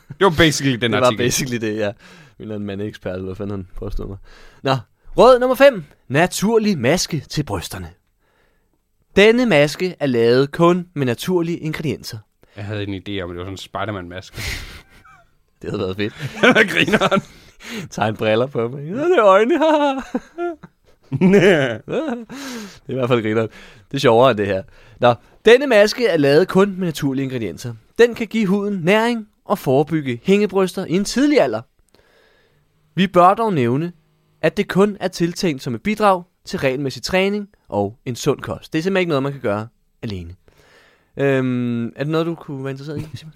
det var basically den
[LAUGHS] Det var
artikel.
basically det, ja. En eller anden mandekspert, eller hvad fanden han påstod mig. Nå, råd nummer 5. Naturlig maske til brysterne. Denne maske er lavet kun med naturlige ingredienser.
Jeg havde en idé om, at det var sådan en
[LAUGHS]
Spider-Man-maske.
Det havde været fedt.
Grineren.
Tegn briller på mig. Ja, det er øjne. haha. Det er i hvert fald grineren. Det er sjovere end det her. Nå, denne maske er lavet kun med naturlige ingredienser. Den kan give huden næring og forebygge hængebryster i en tidlig alder. Vi bør dog nævne, at det kun er tiltænkt som et bidrag til regelmæssig træning og en sund kost. Det er simpelthen ikke noget, man kan gøre alene. Øhm, er det noget, du kunne være interesseret i, Simon?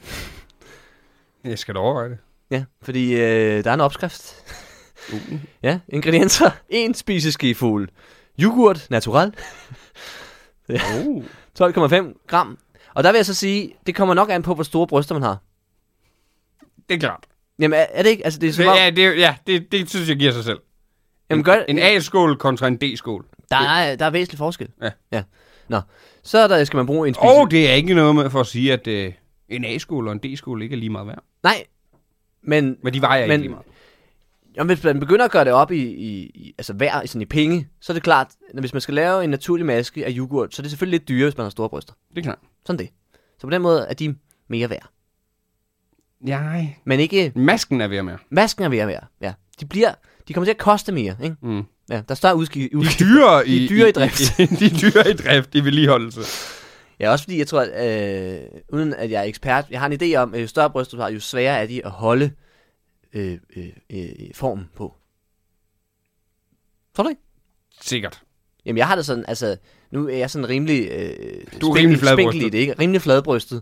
jeg skal da overveje det.
Ja, fordi øh, der er en opskrift. [LAUGHS] Ja, ingredienser. 1 spiseskefuld. Yoghurt natural.
Uh.
12,5 gram. Og der vil jeg så sige, det kommer nok an på, hvor store bryster man har.
Det er klart.
Jamen, er, er det ikke? Altså, det er
Det,
som om,
ja, det, ja det, det synes jeg giver sig selv.
jamen, gør,
En A-skål kontra en D-skål.
der, er, der er væsentlig forskel.
Ja.
ja. Nå, så er der, skal man bruge en spise...
Og det er ikke noget med for at sige, at øh, en A-skål og en D-skål ikke er lige meget værd.
Nej, men,
Men de vejer
Men-
ikke lige meget.
jamen, hvis man begynder at gøre det op i, i, i altså hver, i sådan i penge, så er det klart, at hvis man skal lave en naturlig maske af yoghurt, så er det selvfølgelig lidt dyrere, hvis man har store bryster.
Det er klart.
Sådan det. Så på den måde er de mere værd.
Nej.
Men ikke
Masken er ved at mere.
masken er mere værd. Ja. De bliver, de kommer til at koste mere, ikke? [LAUGHS]
Mm.
Ja, der er større udski,
De
udski.
er dyre i,
De er dyre i drift.
I, i, [LAUGHS] de er dyre i drift, i vedligeholdelse.
Ja, også fordi jeg tror, at øh, uden at jeg er ekspert, jeg har en idé om, at jo større bryst du har, jo sværere er de at holde øh, øh, øh, formen på. Tror du ikke?
Sikkert.
Jamen, jeg har det sådan, altså, nu er jeg sådan rimelig... Øh, spinkel-
rimelig fladbrystet.
spinkel i det, ikke? Rimelig fladbrystet.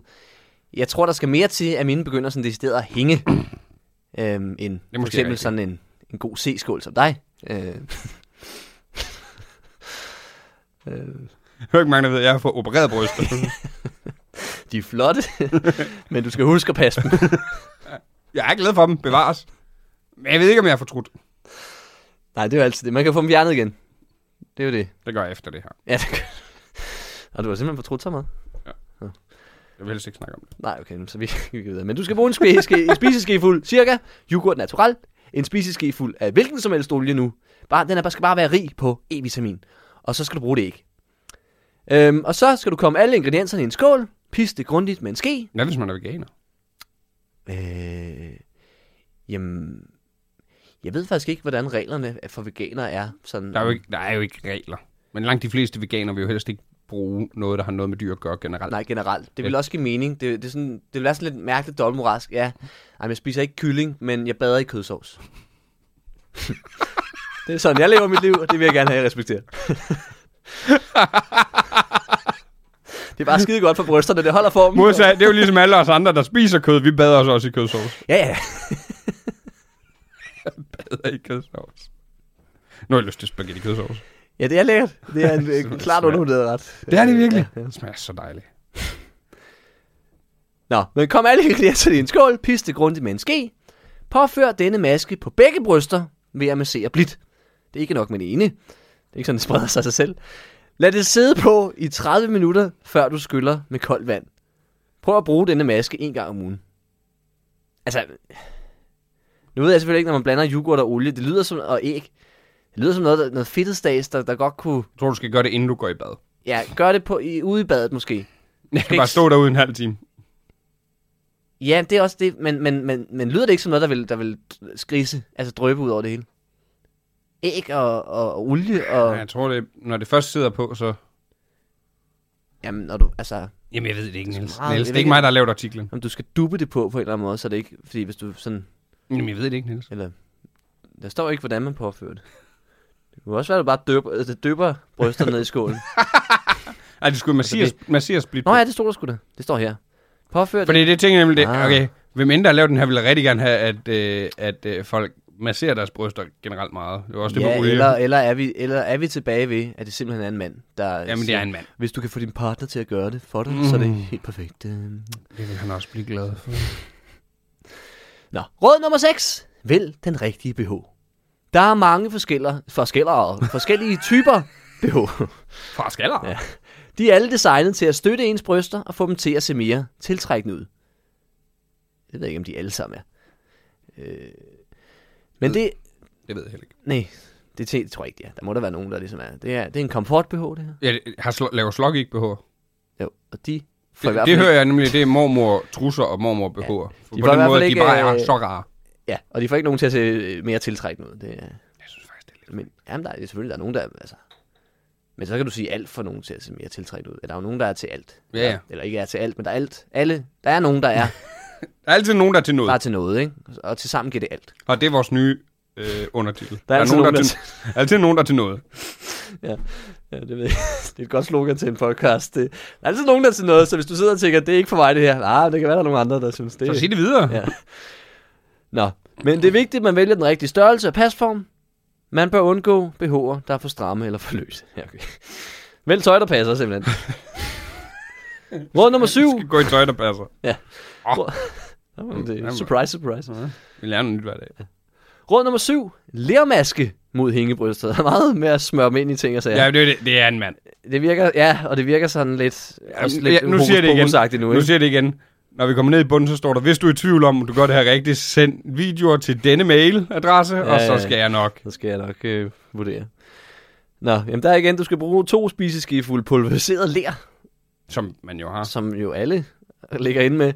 Jeg tror, der skal mere til, at mine begynder sådan decideret at hænge, [CLEARS THROAT] øhm, end for
måske
eksempel
rigtigt.
sådan en, en god C-skål som dig.
[LAUGHS]
Øh, Øh,
Jeg hører ikke mange, der ved, at jeg har fået opereret bryster.
de er flotte, [LAUGHS] men du skal huske at passe dem.
jeg er glad for dem, bevares. Men jeg ved ikke, om jeg har fortrudt.
Nej, det er jo altid det. Man kan få dem fjernet igen. Det er jo det.
Det gør jeg efter det her.
Ja, det [LAUGHS] gør Og du har simpelthen fortrudt så meget?
Jeg vil helst ikke snakke om det.
Nej, okay, så vi [LAUGHS] vi kan videre. Men du skal bruge en, spiseske, en spiseske fuld cirka yoghurt natural. En spiseske fuld af hvilken som helst olie nu. Bare, den er, bare- skal bare være rig på E-vitamin. Og så skal du bruge det ikke. Øhm, og så skal du komme alle ingredienserne i en skål. Piste det grundigt med en ske.
Hvad hvis man er veganer?
Øh, jamen, jeg ved faktisk ikke, hvordan reglerne for veganere er. Sådan,
Der er, jo ikke, der er jo ikke regler. Men langt de fleste veganer vil jo helst ikke bruge noget, der har noget med dyr at gøre generelt.
Nej, generelt. Det vil også give mening. Det, det, er sådan, det vil være sådan lidt mærkeligt doldmorask. Ja, Ej, men jeg spiser ikke kylling, men jeg bader i kødsovs. [LAUGHS] det er sådan, jeg lever mit liv, og det vil jeg gerne have, at I respekterer. [LAUGHS] det er bare skide godt for brysterne, det holder formen.
Modsat, det er jo ligesom alle os andre, der spiser kød. Vi bader os også i kødsovs.
Ja, ja.
Bader i kødsovs. Nu har jeg lyst til spaghetti kødsovs.
Ja, det er lækkert. Det er en, øh, klart undervurderet ret.
Det er det virkelig.
Ja, ja.
Det smager så dejligt.
Nå, men kom alle ingredienserne i en skål, pis det grundigt med en ske. Påfør denne maske på begge bryster ved at massere blidt. Det er ikke nok med det ene. Det er ikke sådan, det spreder sig af sig selv. Lad det sidde på i 30 minutter, før du skyller med koldt vand. Prøv at bruge denne maske en gang om ugen. Altså, nu ved jeg selvfølgelig ikke, når man blander yoghurt og olie, det lyder som, og æg, det lyder som noget, der- noget fedtestads, der, der godt kunne,
Jeg tror, du skal gøre det, inden du går i bad.
ja, gøre det på, i, ude i badet måske.
Jeg
skal
kan bare
ikke-
stå derude en halv time.
Ja, det er også det, men, men, men, men lyder det ikke som noget, der vil, der vil skrise, altså drøbe ud over det hele? Æg og, og, og olie og...
Ja, jeg tror, det, når det først sidder på, så...
Jamen, når du, altså,
Jamen, jeg ved det ikke, Niels.
meget-
Niels,
jeg
det
ved
er ikke mig, der har lavet artiklen.
om du skal duppe det på på en eller anden måde, så er det ikke... Fordi hvis du sådan...
Jamen, jeg ved det ikke, Niels.
Eller, der står ikke, hvordan man påfører det. Det kunne også være, at du bare døber, altså, døber brysterne ned i
[LAUGHS]
skålen.
Ej, Altså, det skulle masseres, masseres blidt
Nå ja, det stod der sgu da. Det står her. Påfør det.
Fordi det tænker jeg nemlig, det,
Ah.
okay, hvem end der har lavet den her, ville rigtig gerne have, at, øh, at øh, folk masserer deres bryster generelt meget. Det var også det
ja,
med olie.
eller, eller, er vi, eller er vi tilbage ved, at det simpelthen er en mand, der
Jamen, det
siger,
er en mand.
hvis du kan få din partner til at gøre det for dig, mm. så er det helt perfekt. Øhm.
Det vil han også blive glad for.
Nå, råd nummer 6. Vælg den rigtige BH. Der er mange forskeller, forskeller, forskellige [LAUGHS] typer [LAUGHS] BH.
Fra skaller? Ja.
De er alle designet til at støtte ens bryster og få dem til at se mere tiltrækkende ud. Jeg ved ikke, om de alle sammen er. Øh, men det...
Det ved jeg heller ikke.
Nej, det t- tror jeg ikke, det er. Der må der være nogen, der ligesom er. Det er, det er en komfort-BH, det her.
Jeg har sl- laver slok ikke BH.
Jo, og de får i
Det,
hvert
det
fald
hører jeg nemlig, det er mormor trusser og mormor BH'er. Ja,
i
på
hvert
den
fald
måde, de
ikke,
bare er
øh,
så rare.
Ja, og de får ikke nogen til at se øh, mere tiltrækkende ud. Det er,
Jeg synes faktisk, det er lidt...
Men jamen, der er selvfølgelig der er nogen, der er, altså... Men så kan du sige alt for nogen til at se mere tiltrækkende ud. Der er jo nogen, der er til alt.
Ja, ja.
Eller ikke er til alt, men der er alt. Alle, der er nogen, der
[LAUGHS]
er
Der er altid nogen, der er til noget.
bare til noget, ikke? Og til sammen giver det alt.
Og det er vores nye øh, undertitel. Der,
altid
nogen,
nogen,
der, er
der-
til, [LAUGHS] altid nogen, der er til noget.
Ja, det ved jeg. [LAUGHS] Det er et godt slogan til en podcast. Det, der er altid nogen, der er til noget, så hvis du sidder og tænker, det er ikke for mig det her. Nej, men det kan være, der er nogen andre, der synes det.
Så sig det videre.
Ja. Nå, men det er vigtigt, at man vælger den rigtige størrelse og pasform. Man bør undgå BH'er, der er for stramme eller for løse. Ja, okay. Vælg tøj, der
[LAUGHS]
passer simpelthen. Råd nummer syv.
Vi skal gå i tøj, der passer.
Jamen, det er
Jamen.
surprise, surprise.
Vi lærer noget nyt hver dag.
Råd nummer syv. Lermaske mod hængebrystet. Der er meget med at smøre dem ind i ting og sager.
Ja, det, er det, det er en mand.
Det virker, ja, og det virker sådan lidt, også lidt
nu siger jeg det igen.
Nu,
nu
ikke?
siger jeg det igen. Når vi kommer ned i bunden, så står der, hvis du er i tvivl om, om du gør det her rigtigt, send videoer til denne mailadresse, ja, og
ja, ja.
så skal jeg nok.
Så skal jeg nok øh, vurdere. Nå, jamen der er igen, du skal bruge to spiseskefulde pulveriseret ler,
Som man jo har.
som jo alle ligger inde med.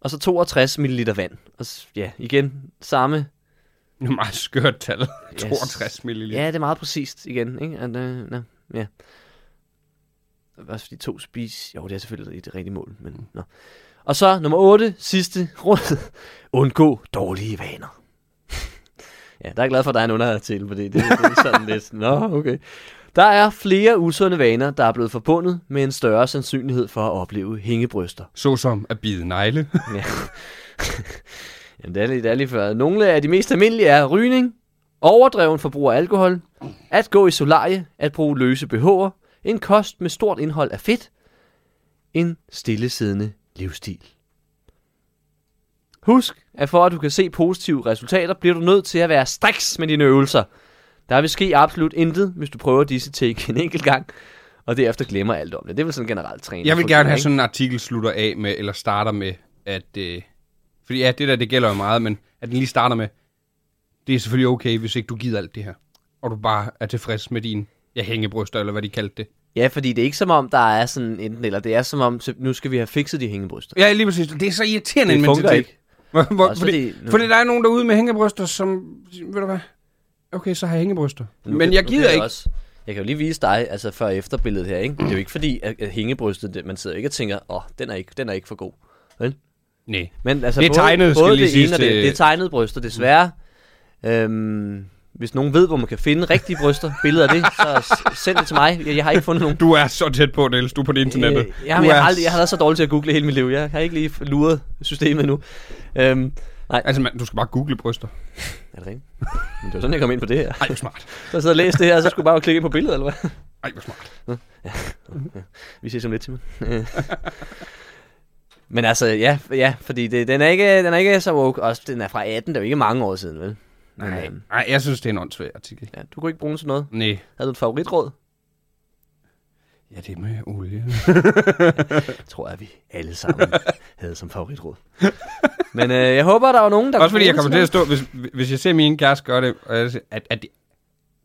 Og så 62 ml vand. Og s- ja, igen, samme
Det er et meget skørt tal. 62 ml.
Ja, det er meget præcist igen, ikke? At, øh, nå, ja. Også fordi to spis... Jo, det er selvfølgelig et rigtigt mål, men nå. Og så nummer 8, sidste råd. [LAUGHS] Undgå dårlige vaner. [LAUGHS] ja, der er jeg glad for, at der er en underartikel, fordi det, det er sådan lidt... Nå, okay. Der er flere usunde vaner, der er blevet forbundet med en større sandsynlighed for at opleve hængebryster.
Såsom at bide negle.
Ja. Jamen, det er lige, det er lige før. Nogle af de mest almindelige er rygning, overdreven forbrug af alkohol, at gå i solarie, at bruge løse BH'er, en kost med stort indhold af fedt, en stillesiddende livsstil. Husk, at for at du kan se positive resultater, bliver du nødt til at være striks med dine øvelser. Der vil ske absolut intet, hvis du prøver disse take en enkelt gang, og derefter glemmer alt om det. Det er vel sådan generelt træning.
Jeg vil gerne have sådan en artikel slutter af med, eller starter med, at... Øh, fordi ja, det der, det gælder jo meget, men at den lige starter med, det er selvfølgelig okay, hvis ikke du gider alt det her. Og du bare er tilfreds med din ja, hængebryster, eller hvad de kaldte det.
Ja, fordi det er ikke som om, der er sådan enten eller. Det er som om, så nu skal vi have fikset de hængebryster.
Ja, lige præcis. Det er så irriterende en
Det fungerer
mentalitet.
ikke.
Hvor, hvor,
Også
fordi,
fordi-
fordi, fordi der er nogen derude med hængebryster, som... Ved du hvad? Okay, så har jeg hængebryster.
Nu
Men
kan-
jeg
nu
gider
kan
ikke.
Også, jeg kan jo lige vise dig altså før og efter billedet her, ikke? Det er jo ikke fordi, at, at hængebrystet, det- man sidder jo ikke og tænker, åh, oh, den, er ikke, den er ikke for god. Vel?
Nej.
Men altså,
Det er
både,
tegnet, skal
både
lige
det
siges
ene og det,
til-
det er tegnet bryster, desværre. Øhm, hvis nogen ved, hvor man kan finde rigtige bryster, billeder af det, så s- send det til mig. Jeg, jeg har ikke
[LAUGHS]
fundet nogen.
Du er så tæt på, Niels. Du er på det internettet.
Øh, jamen,
du
jeg,
er
har aldrig, jeg har været så dårlig til at google hele mit liv. Jeg har ikke lige luret systemet endnu. Øhm, nej,
Altså, man, du skal bare google bryster.
er det rigtigt? Men det var sådan, jeg kom ind på det her.
Ej, hvor smart.
Så jeg sad og læste det her, og så skulle jeg bare klikke ind på billedet, eller hvad?
Ej, hvor smart.
Vi ses om lidt, Simon. Øh. Men altså, ja, ja fordi det, den, er ikke, den er ikke så woke. Også, den er fra 18, det er jo ikke mange år siden, vel? Men,
Nej,
øhm,
Ej, jeg synes, det er en åndssvær artikel.
ja, du kunne ikke bruge den til noget.
Nej.
Havde du et favoritråd?
Ja, det er med olie.
Det tror jeg, vi alle sammen havde som favoritråd. Men øh, jeg håber, der var nogen, der
[LAUGHS] Også fordi jeg
bruge
kommer til at
[LAUGHS] det
stå, hvis, hvis jeg ser min kæreste gøre det, og jeg siger, at, at det,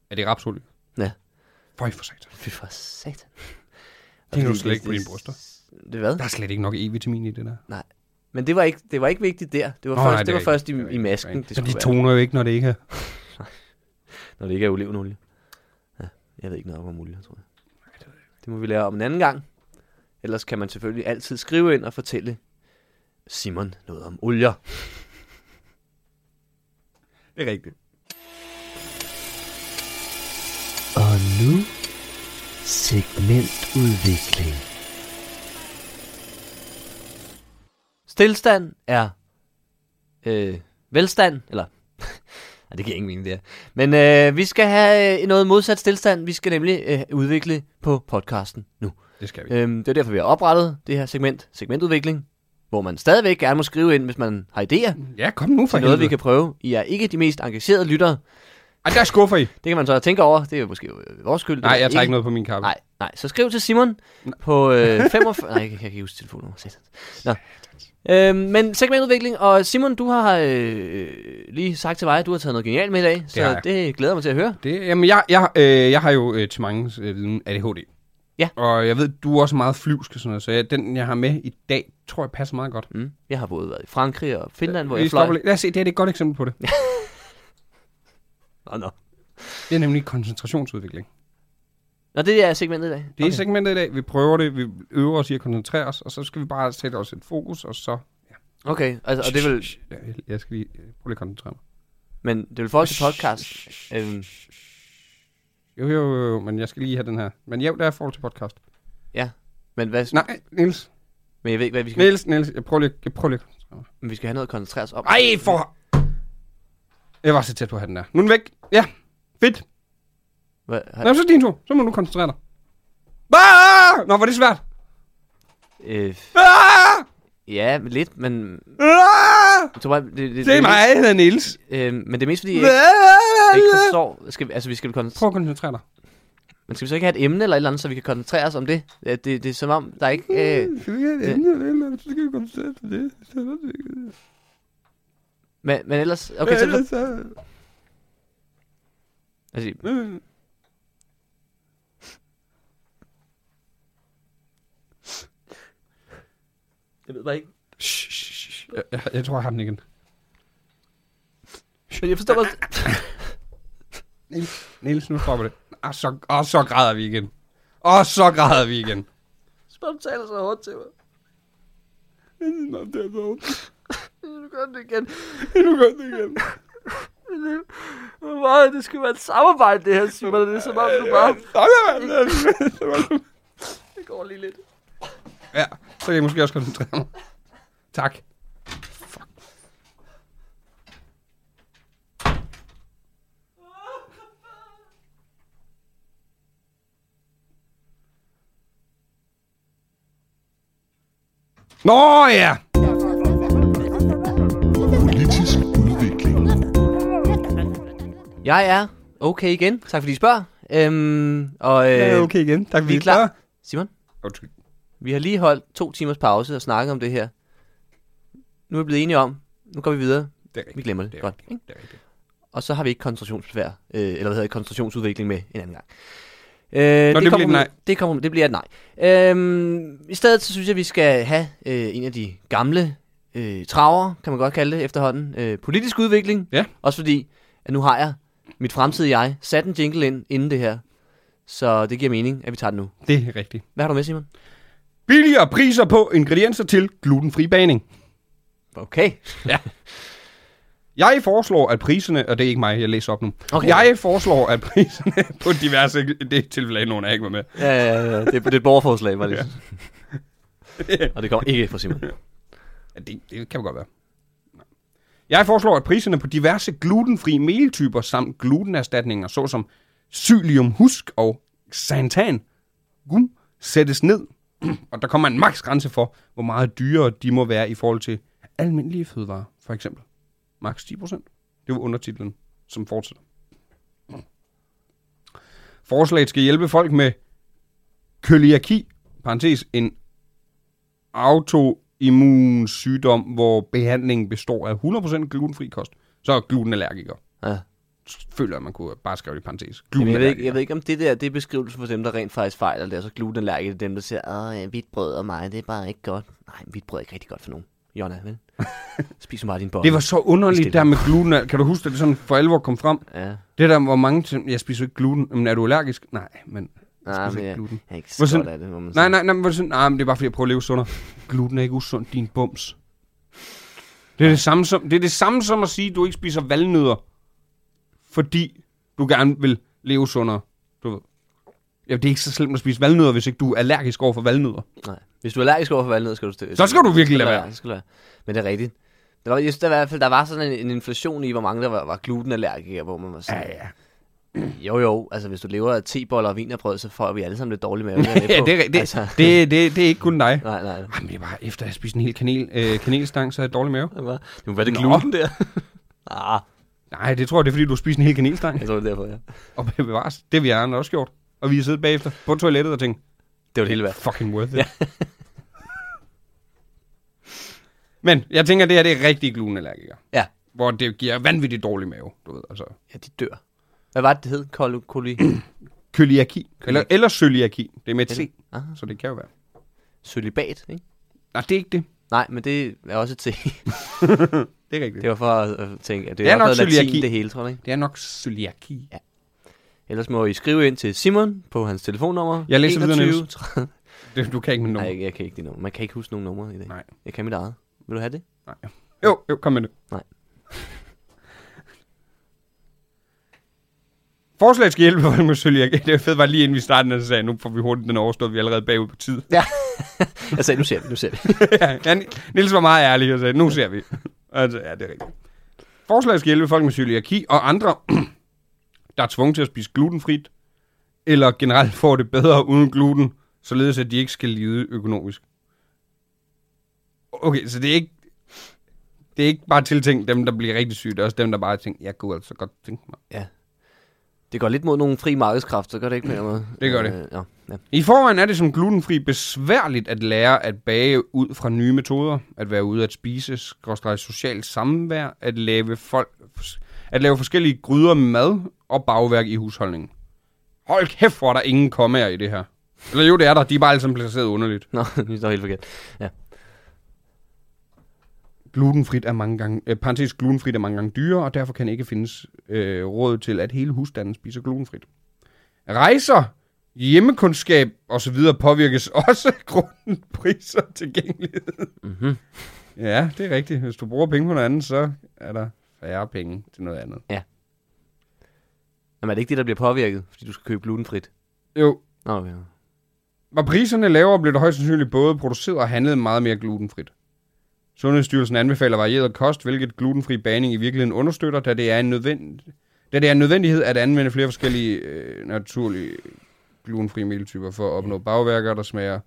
er det rapsolie?
Ja.
Føj for satan.
noget. Fy for satan.
Det er nu
Fordi
slet ikke på dine bryster.
Det hvad?
Der er slet ikke nok E-vitamin i det der.
Nej. Men det var ikke, det var ikke vigtigt der. Det var
Nå,
først,
nej,
det
det er
var
ikke-
først i,
det er
i
ikke-
masken, det
Men
skulle
de
være.
toner jo ikke, når det ikke er.
Når det ikke er olivenolie. Ja, jeg ved ikke noget om olie, tror jeg. Det må vi lære om en anden gang. Ellers kan man selvfølgelig altid skrive ind og fortælle Simon noget om olier.
Det er rigtigt.
Og nu segmentudvikling. Stilstand er øh, velstand, eller [LAUGHS] Nej, det giver ingen mening, det her. Men øh, vi skal have øh, noget modsat stilstand. Vi skal nemlig øh, udvikle på podcasten nu.
Det skal vi.
Øhm, det er derfor, vi har oprettet det her segment, segmentudvikling, hvor man stadigvæk gerne må skrive ind, hvis man har idéer
Ja, kom nu Mm. for
til noget, vi
helvede.
kan prøve. I er ikke de mest engagerede lyttere.
Ej, der skuffer I.
Det kan man så tænke over. Det er jo måske øh, vores skyld.
Nej,
Det er
jeg tager ikke noget på min kappe.
Nej, nej. Så skriv til Simon på
[LAUGHS]
øh, 45... nej, jeg kan ikke huske telefonnummer. Satans. Nå. Øhm, men segmentudvikling, og Simon, du har øh, lige sagt til mig, at du har taget noget genialt med i dag,
har
så
jeg.
det glæder jeg mig til at høre.
Det, jamen, jeg, jeg, øh, jeg har jo øh, til mange øh, viden ADHD.
Ja.
Og jeg ved, du er også meget flyvsk og sådan noget, så jeg, den, jeg har med i dag, tror jeg passer meget godt.
Mm. Jeg har både været i Frankrig og Finland, hvor
Øh, Vi
jeg fløj.
stopper lige. Lad os se, det her det er et godt eksempel på det.
Nå, nå.
Det er nemlig koncentrationsudvikling.
nå, det er segmentet i dag.
Det er okay. segmentet i dag, vi prøver det, vi øver os i at koncentrere os, og så skal vi bare sætte os et fokus, og så...
Okay, altså, og det vil,
Ja, jeg- Jeg skal lige øh, prøve lige at koncentrere mig.
Men det vil forhold til podcast. Øhm,
Jo, jo, jo, jo, men jeg skal lige have den her. Men jo, der er forhold til podcast.
ja. Men, hvad,
Nej, Niels.
men jeg ved ikke, hvad vi skal,
Niels, Niels, jeg prøver lige, jeg prøver lige at koncentrere mig.
men vi skal have noget at koncentrere os om.
Ej, for... Jeg var så tæt på at have den der. Nu er den væk. Ja, fedt.
Hvad, har,
Nå, så er det din tur. Så må du koncentrere dig. Ah! Nå, var det svært.
øh,
Ah!
ja, men lidt, men...
Ah!
Jeg tror bare, det, det,
Det er mig, jeg hedder Niels.
Øh, men det er mest fordi, jeg ikke, jeg ikke
Ah!
forstår... Skal, vi- altså, vi skal, koncentrere,
Prøv at koncentrere dig.
men skal vi så ikke have et emne eller et eller andet, så vi kan koncentrere os om det? Ja, det, det er som om, der er ikke... Øh,
Skal vi have et emne eller et eller andet, så skal vi koncentrere på det. Så er det ikke-
men, men ellers... Okay,
Hvad
så,
er det
altså,
så?
Hmm?
Øh.
Jeg ved bare ikke.
Shh, shh, shh. Jeg, jeg, jeg tror, jeg har den igen.
Men jeg forstår [LAUGHS] også...
Niels, Niels nu stopper det. Og så, og så græder vi igen. Og så græder vi igen.
Spørg, du taler så hårdt til mig.
Nå, det er så
Nu gør det igen.
Nu gør det igen.
Hvor det skal være et samarbejde, det her, Simon. Det er som om, du bare... Det går lige lidt.
Ja, så kan jeg måske også koncentrere mig. Tak. Nå ja!
Politisk udvikling.
Jeg er okay igen. Tak fordi I spørger. Øhm, og øh,
Ja, okay igen. Tak,
vi er klar. Simon,
Undskyld.
vi har lige holdt to timers pause og snakket om det her. Nu er vi blevet enige om, nu går vi videre.
Det er
Vi
rigtigt.
glemmer det.
Det er
Godt.
rigtigt. Det er rigtigt.
Og så har vi ikke koncentrationsbesvær, øh, eller hvad hedder det, koncentrationsudvikling med en anden gang. Øh, det,
bliver
kommer
et
med-
nej.
Det, kommer, det bliver et nej. Øhm, I stedet så synes jeg, vi skal have øh, en af de gamle øh, traver, kan man godt kalde det efterhånden. Øh, politisk udvikling.
Ja.
Også fordi, at nu har jeg mit fremtidige jeg sat en jingle ind inden det her. Så det giver mening, at vi tager den nu.
Det er rigtigt.
Hvad har du med, Simon?
Billigere priser på ingredienser til glutenfri baning.
Okay.
Jeg foreslår, at priserne... Og det er ikke mig, jeg læser op nu.
Okay.
Jeg foreslår, at priserne [LAUGHS] på diverse... Det er tilfælde, nogen er ikke var med.
Ja, ja, ja, ja. Øh, Det, er- det er et borgerforslag, var det.
[LAUGHS] Ja.
Og det kommer ikke fra Simon.
Ja, det, det kan godt være. Nej. Jeg foreslår, at priserne på diverse glutenfri meltyper samt glutenerstatninger, såsom psyllium husk og xanthan gum, sættes ned. og der kommer en maksgrænse for, hvor meget dyrere de må være i forhold til almindelige fødevarer, for eksempel. Max 10 procent. Det var undertitlen, som fortsætter. Forslaget skal hjælpe folk med køliaki, parentes en autoimmun sygdom, hvor behandlingen består af 100% glutenfri kost, så er glutenallergiker.
Ja.
Føler jeg, man kunne bare skrive det i parentes.
Jamen, jeg, ved ikke,
Glutenallergiker.
jeg ved ikke, om det der det er beskrivelsen for dem, der rent faktisk fejler det. Altså glutenallergikere, dem der siger, at hvidt brød og mig, det er bare ikke godt. Nej, hvidt brød er ikke rigtig godt for nogen. Jonna,
[LAUGHS]
vel? Spis nu bare din bolle.
Det var så underligt
Stil.
der med gluten. Kan du huske, at det sådan for alvor kom frem?
Ja.
Det der, hvor mange ting, jeg spiser ikke gluten. Men er du allergisk? Nej, men jeg spiser
Nej, men
ikke
jeg,
gluten.
jeg er ikke
Hvor
så
sådan-
godt af det, må man
Nej,
sige.
nej, nej, men, hvor er det sådan, nej, men det er bare fordi, jeg prøver at leve sundere. Altså. Gluten er ikke usundt, din bums. Det er det, samme som, det er det samme som at sige, at du ikke spiser valnødder, fordi du gerne vil leve sundere. Du ved. Ja, det er ikke så slemt at spise valnødder, hvis ikke du er allergisk over for valnødder.
Nej. Hvis du er allergisk over for valnød, skal du stille.
Så skal du virkelig lade være.
Det skal du være. Men det er rigtigt. Der var, jeg synes, der, var i hvert fald, der var sådan en, en inflation i, hvor mange der var, var glutenallergikere, hvor man var sådan,
ja.
jo jo, altså hvis du lever af teboller og vinerbrød, så får vi alle sammen lidt dårlig mave. Det er jeg med
[LAUGHS] ja
på.
det, er, det,
Altså,
altså. det, det, det er ikke kun dig.
nej, nej.
Ej, men det er bare, efter jeg har spist en hel kanel, øh, kanelstang, så har jeg dårlig mave.
Det, var, det må være det
Nå.
[LAUGHS] gluten der. ah,
Nej, det tror jeg, det er fordi, du har spist en hel kanelstang.
jeg tror det er derfor, ja.
Og bevares, det har vi andre også gjort. Og vi har siddet bagefter på toilettet og tænkt,
Det var det hele værd.
fucking worth it. Ja. [LAUGHS] Men jeg tænker, det her det er rigtig glutenallergiker.
Ja.
Hvor det giver vanvittigt dårlig mave, du ved. Altså,
Ja, de dør. Hvad var det, det hed? Kol- [CLEARS THROAT] koli...
køliaki. Eller, eller cøliaki. Det er med et C,
Aha.
så det kan jo være.
Ah. Sølibat, ikke?
Nej, det er ikke det.
Nej, men det er også et [LAUGHS] T.
Det er rigtigt.
det var for at øh, tænke, at det,
Det er
er nok
nok
noget latin
cøliaki.
det hele, tror jeg. Ikke?
Det er nok cøliaki.
Ellers må I skrive ind til Simon på hans telefonnummer.
Jeg læser videre,
21
Niels.
30.
Det, du kan ikke med nummer.
Nej, jeg kan ikke det nummer. Man kan ikke huske nogen numre i dag.
Nej.
Jeg kan mit eget. Vil du have det?
Nej. Jo, jo, kom med det.
Nej.
[LAUGHS] Forslaget skal hjælpe folk med cøliaki. Det er fedt, var lige inden vi startede, så sagde jeg, nu får vi hurtigt den overstået, vi er allerede bagud på tid.
Ja. jeg sagde, nu ser vi, nu ser vi.
ja, ja, Niels var meget ærlig og sagde, nu ser vi. Altså, ja, det er rigtigt. Forslaget skal hjælpe folk med cøliaki og andre, [CLEARS THROAT] der er tvunget til at spise glutenfrit, eller generelt får det bedre uden gluten, således at de ikke skal lide økonomisk. Okay, så det er ikke, det er ikke bare tiltænkt dem, der bliver rigtig syge, det er også dem, der bare tænker, jeg kunne altså godt tænke mig.
[LAUGHS] Det går lidt mod nogle fri markedskræfter, gør det ikke på den måde?
Det gør det.
Øh, ja, ja.
I forvejen er det som glutenfri besværligt at lære at bage ud fra nye metoder, at være ude at spise, skråstrej socialt samvær, at lave, folk, at lave forskellige gryder med mad og bagværk i husholdningen. Hold kæft, hvor er der ingen
[LAUGHS]
kommaer i det her. Eller jo, det er der. De er bare alle sammen placeret underligt.
Nå, det står helt forkert. Ja.
Glutenfrit er mange gange, øh, parentes, glutenfrit er mange gange dyrere, og derfor kan ikke findes øh, råd til, at hele husstanden spiser glutenfrit. Rejser, hjemmekundskab osv. påvirkes [LAUGHS] også af grunden priser og tilgængelighed.
Mhm.
Ja, det er rigtigt. Hvis du bruger penge på noget andet, så er der færre penge til noget andet.
Jamen, er det ikke det, der bliver påvirket, fordi du skal købe glutenfrit?
Jo,
Nå, okay.
Var priserne lavere, blev der højst sandsynligt både produceret og handlet meget mere glutenfrit. Sundhedsstyrelsen anbefaler varieret kost, hvilket glutenfri baning i virkeligheden understøtter, da det er en, nødvend... da det er en nødvendighed at anvende flere forskellige øh, naturlige glutenfri meltyper for at opnå bagværker, der smager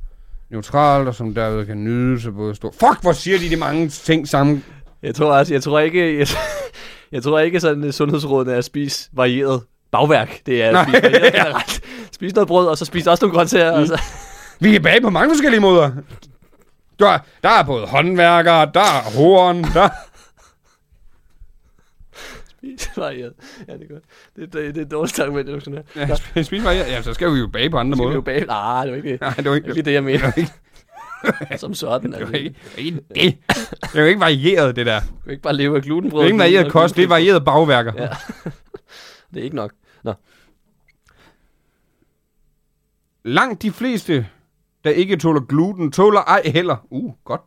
neutralt, og som derved kan nydes af både stor... Fuck, hvor siger de de mange ting sammen?
Jeg tror også, jeg tror ikke, jeg, [LAUGHS] jeg tror ikke sådan at sundhedsrådene er at spise varieret bagværk. Det er at
Nej.
spise [LAUGHS] varieret generelt. Spis noget brød, og så spis også nogle grøntsager. Mm. Og så, [LAUGHS]
Vi kan bage på mange forskellige måder. Der, der er både håndværkere, der er horn, der...
spis varieret. Ja, det er godt. Det, det, det er et dårligt argument, jeg skal have.
[LAUGHS] Ja, sp- spis mig. Ja, så skal vi jo bage på andre
Skal vi
måder.
jo bage? Nej, det var ikke det.
Nej, det var
Det er
ikke...
lige det, jeg mener. [LAUGHS] Som
[LAUGHS]
sådan.
Det
Altså.
er jo ikke, det er ikke det. Det er jo ikke varieret, det der. Det
Du kan ikke bare leve af glutenbrød.
er ikke
og
varieret
gluten- og
kost, det er
glutenfri.
varieret bagværker.
Ja. Det er ikke nok. Nå.
Langt de fleste, der ikke tåler gluten, tåler ej heller. Uh, godt.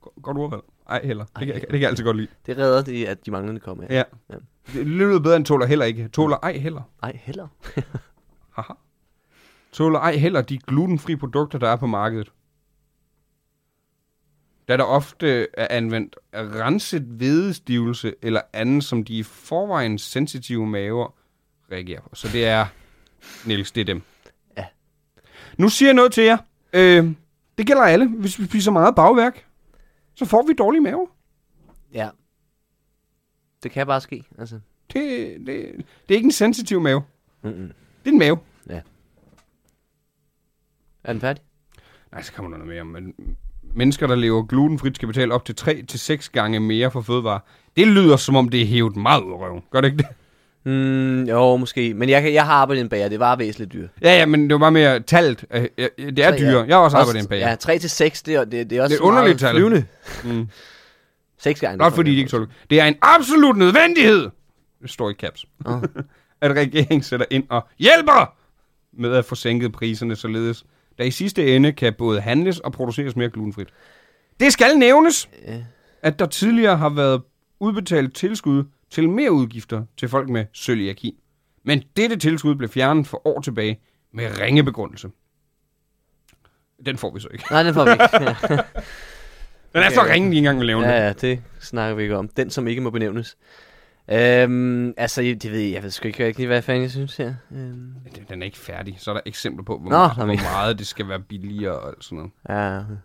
Go- Godt ordvalg. Ej heller. Det kan, jeg- det kan jeg altid godt lide.
Det redder det, at de manglende kommer af.
Ja.
Ja.
Det lyder bedre end tåler heller ikke. Tåler ej heller.
Ej, heller.
Haha. Tåler ej heller de glutenfri produkter, der er på markedet. Da der ofte er anvendt renset hvedestivelse eller andet, som de i forvejen sensitive maver reagerer på. Så det er, Niels, det er dem.
Ja.
Nu siger jeg noget til jer. Øh, det gælder alle. Hvis vi spiser meget bagværk, så får vi dårlige maver.
Ja. Det kan bare ske, altså.
Det, det, det er ikke en sensitiv mave.
Mm-mm.
Det er en mave.
Er den færdig?
Nej, så kommer der noget mere om, men mennesker, der lever glutenfrit, skal betale op til 3-6 gange mere for fødevarer. Det lyder, som om det er hævet meget ud af røven. Gør det ikke det?
Mm, jo, måske. Men jeg, kan, jeg har arbejdet i en bager. Det var væsentligt dyrt.
Ja, ja, men det var bare mere talt. Øh, øh, Det er dyre. Jeg har også arbejdet i en bager.
Ja, 3 til 6, det er, det, det er
Det
også
er et underligt
meget
tal.
flyvende. [LAUGHS]
Mm.
6 gange.
Blot fordi de ikke tåler. Det er en absolut nødvendighed, det står i caps,
Ah.
[LAUGHS] at regeringen sætter ind og hjælper med at få sænket priserne, således der i sidste ende kan både handles og produceres mere glutenfrit. Det skal nævnes,
Ja.
at der tidligere har været udbetalt tilskud til mere udgifter til folk med cøliaki. Men dette tilskud blev fjernet for år tilbage med ringe begrundelse. Den får vi så ikke.
Nej, den får vi
[LAUGHS]
ikke.
Den er så
Okay.
ringe, de ikke engang vil lave den.
ja, ja, det snakker vi ikke om. Den, som ikke må benævnes. Øhm, altså, jeg- det ved jeg, jeg ved sgu ikke rigtig, hvad fanden jeg synes her. Øhm,
Den- Den er ikke færdig. Så er der eksempler på, hvor,
Nå,
meget,
nå,
hvor
men-
meget det skal være billigere og alt sådan noget.
ja,
Men sådan,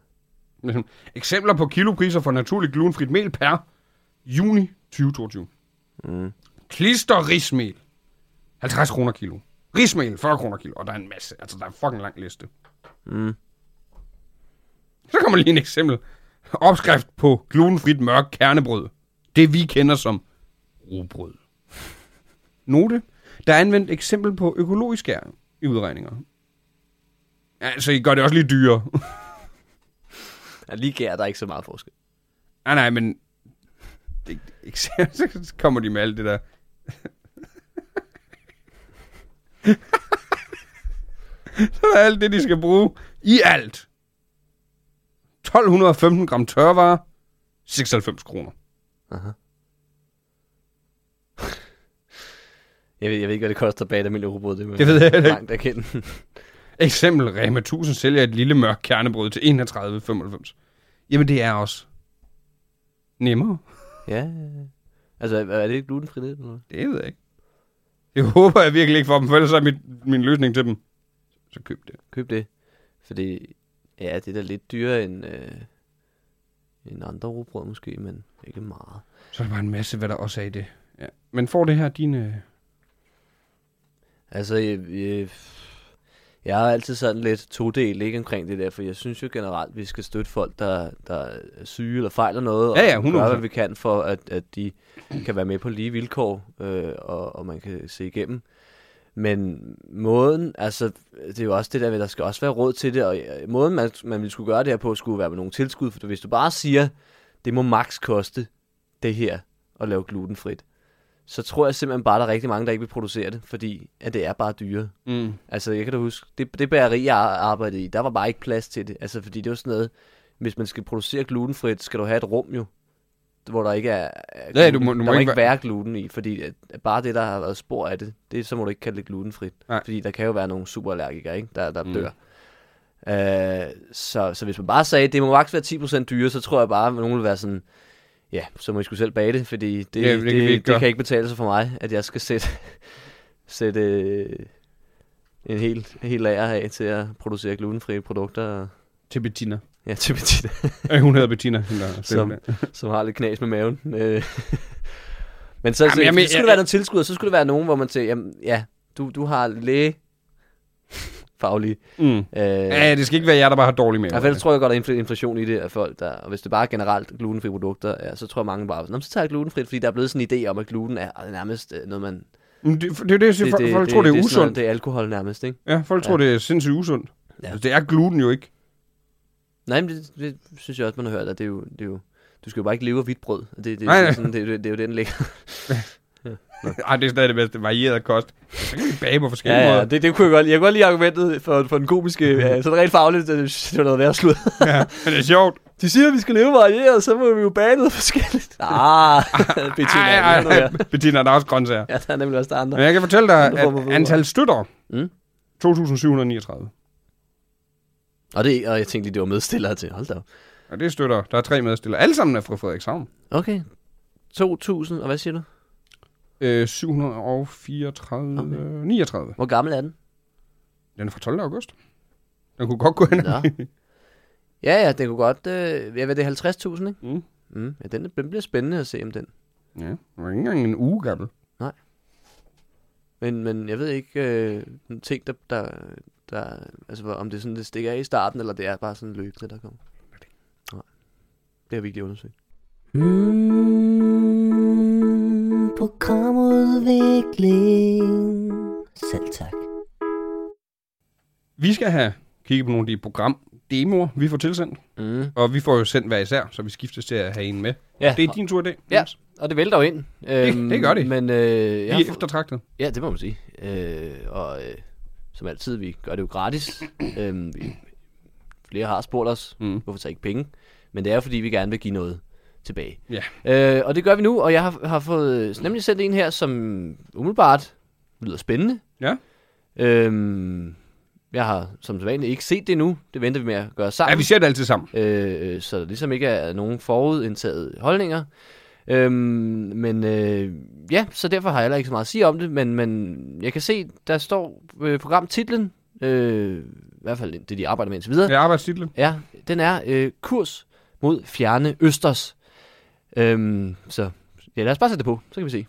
Ligesom, Eksempler på kilopriser for naturligt glutenfrit mel per juni 2022.
Mm.
Klister rismel. 50 kroner kilo. Rismel 40 kroner kilo. Og der er en masse. Altså, der er en fucking lang liste.
Mm.
Så kommer lige en eksempel. Opskrift på glutenfrit mørk kernebrød. Det vi kender som rugbrød. Note. Der er anvendt eksempel på økologisk gæring i udregninger. Altså, I gør det også lige dyrere.
ja lige gær, der er ikke så meget forskel.
Nej, nej, men... Det, ikke- så [LAUGHS] kommer de med alt det der. [LAUGHS] så er alt det, de skal bruge i alt. 1215 gram tørvarer, 96 kroner.
Jeg ved, jeg ved ikke, hvad det koster bag et almindeligt rugbrød. Det, må
Det ved jeg heller ikke.
langt erkende.
Eksempel, Rema 1000 sælger et lille mørkt kernebrød til 31,95. Jamen, det er også nemmere.
ja, ja, ja. altså, er er det ikke glutenfri det? Eller? hvad?
Det ved jeg ikke. Det håber jeg virkelig ikke for dem, for ellers er mit, min løsning til dem. Så køb det.
Køb det. Fordi, ja, det er da lidt dyrere end, øh, end andre rugbrød måske, men ikke meget.
Så er der bare en masse, hvad der også er i det. Ja. Men får det her øh, dine...
Altså, jeg, jeg, jeg er altid sådan lidt todel ikke omkring det der, for jeg synes jo generelt, vi skal støtte folk, der, der er syge eller fejler noget,
Ja, ja,
og
100%.
gøre, hvad vi kan for, at, at de kan være med på lige vilkår, øh, og, og man kan se igennem. Men måden, altså, det er jo også det der med, der skal også være råd til det, og øh, måden, man, man ville skulle gøre det her på, skulle være med nogle tilskud, for hvis du bare siger, det må maks koste det her at lave glutenfrit, så tror jeg simpelthen bare, der er rigtig mange, der ikke vil producere det, fordi at det er bare dyre.
Mm.
Altså, jeg kan da huske, det, det bageri, jeg arbejdede i, der var bare ikke plads til det. Altså, fordi det var sådan noget, hvis man skal producere glutenfrit, skal du have et rum jo, hvor der ikke er, er gluten.
du må- du
der
må
må
ikke
ikke
være-
være gluten i, fordi at at bare det, der har været spor af det, det så må du ikke kalde det glutenfrit.
Nej.
Fordi der kan jo være nogle superallergikere, ikke? der, der
Mm.
mm. dør. Øh, så, så hvis man bare sagde, det må maks være 10% dyre, så tror jeg bare, at nogen vil være sådan, ja, så må I skulle selv bage det, fordi det,
Ja,
ja,
det
det,
kan
det,
vi ikke
det,
gøre.
kan ikke betale sig for mig, at jeg skal sætte, [LAUGHS] sætte øh, en hel, en hel lager af til at producere glutenfrie produkter
Til Bettina.
ja, til Bettina, [LAUGHS]
Øh, hun hedder Bettina. hende, der stiller
Som-
det.
som har lidt knas med maven. Øh, [LAUGHS] men så,
Jamen,
så,
jeg
jamen,
men-
så skulle
jeg-
der være noget tilskud, og så skulle der være nogen, hvor man siger, jamen, ja, du, du har læge [LAUGHS] faglige.
Mm.
Øh,
Ja, det skal ikke være jer, der bare har dårlig mave.
Ja, for ellers tror jeg godt, at infl- inflation i det er folk, der... Og hvis det bare er generelt glutenfri produkter, ja, så tror jeg mange bare... Nå, men så tager jeg glutenfrit, fordi der er blevet sådan en idé om, at gluten er er nærmest øh, noget, man... Det,
Men det, for- det er jo det, jeg siger. Folk, folk tror, det, er
sådan noget,
usundt.
Det er alkohol nærmest, ikke?
Ja, folk tror, det er sindssygt usundt.
Ja.
Altså, Det er gluten jo ikke.
Nej, men det, det synes jeg også, man har hørt, at det er jo... Det er jo du skal jo bare ikke leve af hvidt brød. Det, det, det,
Nej, nej.
er sådan, det, det, det, er jo det, den ligger.
Ej, det er stadig det bedste. Varieret kost. Så kan vi bage på forskellige
Ja, ja, [LAUGHS]
måder.
det, det kunne jeg godt Jeg kunne godt lide argumentet for, for den [LAUGHS] komiske... Ja, sådan rent fagligt, øh, det var noget værd at slutte.
Men det er sjovt.
De siger, at vi skal leve varieret, så må vi jo bage noget forskelligt. [LAUGHS] Ah, Bettina,
Ej, ej, ej. Bettina, der er også grøntsager.
Ja, der er nemlig også der andre.
Men jeg kan fortælle dig,
Andre former for
at antal støtter.
Mm.
2.739.
Og, det, og jeg tænkte lige, det var medstillere til. Hold da op.
Og det er støtter. Der er tre medstillere. Alle sammen er fra Frederikshavn.
Okay. 2.000, og hvad siger du?
Øh, 734...
Okay.
39.
Hvor gammel er den?
Den er fra 12. august. Den kunne godt gå hen.
Nå. Ja, ja, det kunne godt... Øh, ja, hvad er det 50.000, ikke?
Mm.
Mm, ja, den, den bliver spændende at se om den.
Ja, den var ikke engang en uge gammel.
Men, men jeg ved ikke, øh, den ting, der, der, der... Altså, hvor- om det er sådan, det stikker af i starten, eller det er bare sådan løbende, der kommer. Nej. Det har vi ikke lige undersøgt.
Mm, programudvikling. Selv tak.
Vi skal have kigget på nogle af de programdemoer, vi får tilsendt.
Mm.
Og vi får jo sendt hver især, så vi skiftes til at have en med.
Ja,
Det er din tur i dag.
Ja.
Jens.
og det vælter jo ind. Øhm,
det gør det.
Men øh, jeg
Vi er
har-
eftertragtet.
Ja, det må man sige. Øh, og øh, som altid, vi gør det jo
[COUGHS]
gratis. øh, vi, flere har spurgt os,
Mm.
mm. hvorfor tager I ikke penge? Men det er jo, fordi, vi gerne vil give noget tilbage.
Ja.
Øh, og det gør vi nu, og jeg har, har fået øh, nemlig sendt en her, som umiddelbart lyder spændende.
Ja.
Øhm, jeg har som sædvanligt ikke set det endnu. Det venter vi med at gøre sammen.
Ja, vi ser det altid sammen.
Øh, øh, så der ligesom ikke er nogen forudindtaget holdninger. Øhm, men øh, ja, så derfor har jeg heller ikke så meget at sige om det, men, men jeg kan se, der står øh, programtitlen, øh, i hvert fald det, de arbejder med indtil videre,
Det
ja.
er arbejdstitlen.
er, den er øh, kurs mod fjerne østers. Øhm, så ja, lad os bare sætte det på, så kan vi se.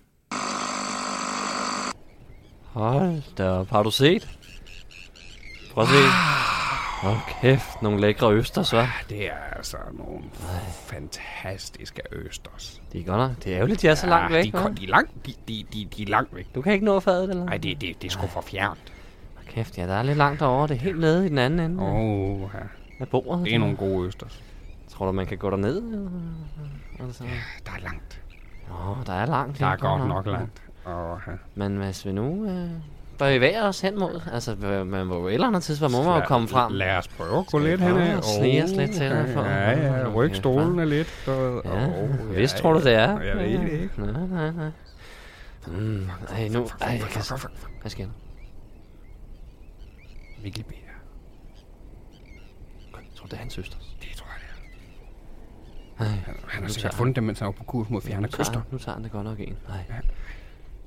Hold da op, har du set? Prøv at se. Hold kæft, nogle lækre østers, så.
Det er altså nogle fantastiske østers.
Det er godt nok. Det er ærgerligt, de er så
Ja,
Ah,
langt væk,
De,
hva'?
kom- de, er langt, de, de, de, de er langt væk.
Du kan ikke nå fadet, eller?
Nej, det, det, det er sgu for fjernt.
Hold Kæft, ja, der er lidt langt derovre. Det er helt nede i den anden ende
Åh, oh, ja.
af bordet.
det er nogle gode østers.
Tror du, man kan gå derned? eller? Altså,
Der er langt.
Nå, der er langt.
Der
ja,
er godt nok langt. Åh, ja.
Men hvis vi nu øh, bevæger os hen mod... Altså, øh, man må jo et eller andet tidspunkt, må man jo
Lad-
komme frem.
Lad os prøve at gå lidt
prøve
henad.
at snige os
Åh,
lidt til dig for-
Ja, ja,
Okay,
ryk stolene lidt. Og,
Ja,
Åh,
hvis
ja,
tror du, det er.
Jeg ved det ikke.
Nej, nej, nej. Mm, ej, nu... Ej, jeg kan... Hvad sker der?
Mikkel Bia.
Jeg tror, det er hans søster.
Det tror jeg, det er.
Ej,
Han- Han har
Nu
sikkert
tager-
fundet dem, mens han var på kurs mod fjerne
nu tager,
kyster.
han, nu tager han det godt nok en. Nej,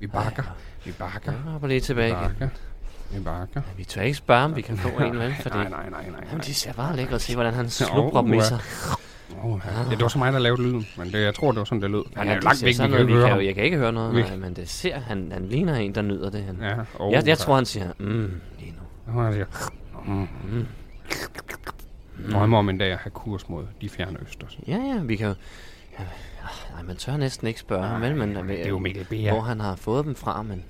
Vi bakker. Vi bakker.
jeg hopper lige tilbage
Vi
igen.
bakker. Vi bakker.
Vi tør ikke spørge, om vi kan få
[LAUGHS]
en, vel? Fordi...
Nej, nej, nej, nej.
Jamen,
nej.
de ser bare lækre at se, hvordan han slubrer dem i sig.
Åh, ja. ja, det var så mig, der lavede lyden. Men det, jeg tror, det var sådan, det lød. Han er jo
de
langt
ser
væk, vi
sådan
kan
noget,
ikke høre
jo-
ham.
Jeg kan ikke høre noget,
Vi-
nej, men det ser, han, han ligner en, der nyder det. Han.
Ja, åh,
jeg, jeg tror, han siger, mm, lige nu.
Åh, han siger, mm. Drømmer om en dag at have kurs mod de fjerne østers.
Ja, ja, vi kan jo... Ja, ah, nej, man tør næsten ikke spørge ham, vel? Men, øh,
Det er jo Mikkel Bia.
Hvor han har fået dem fra, men...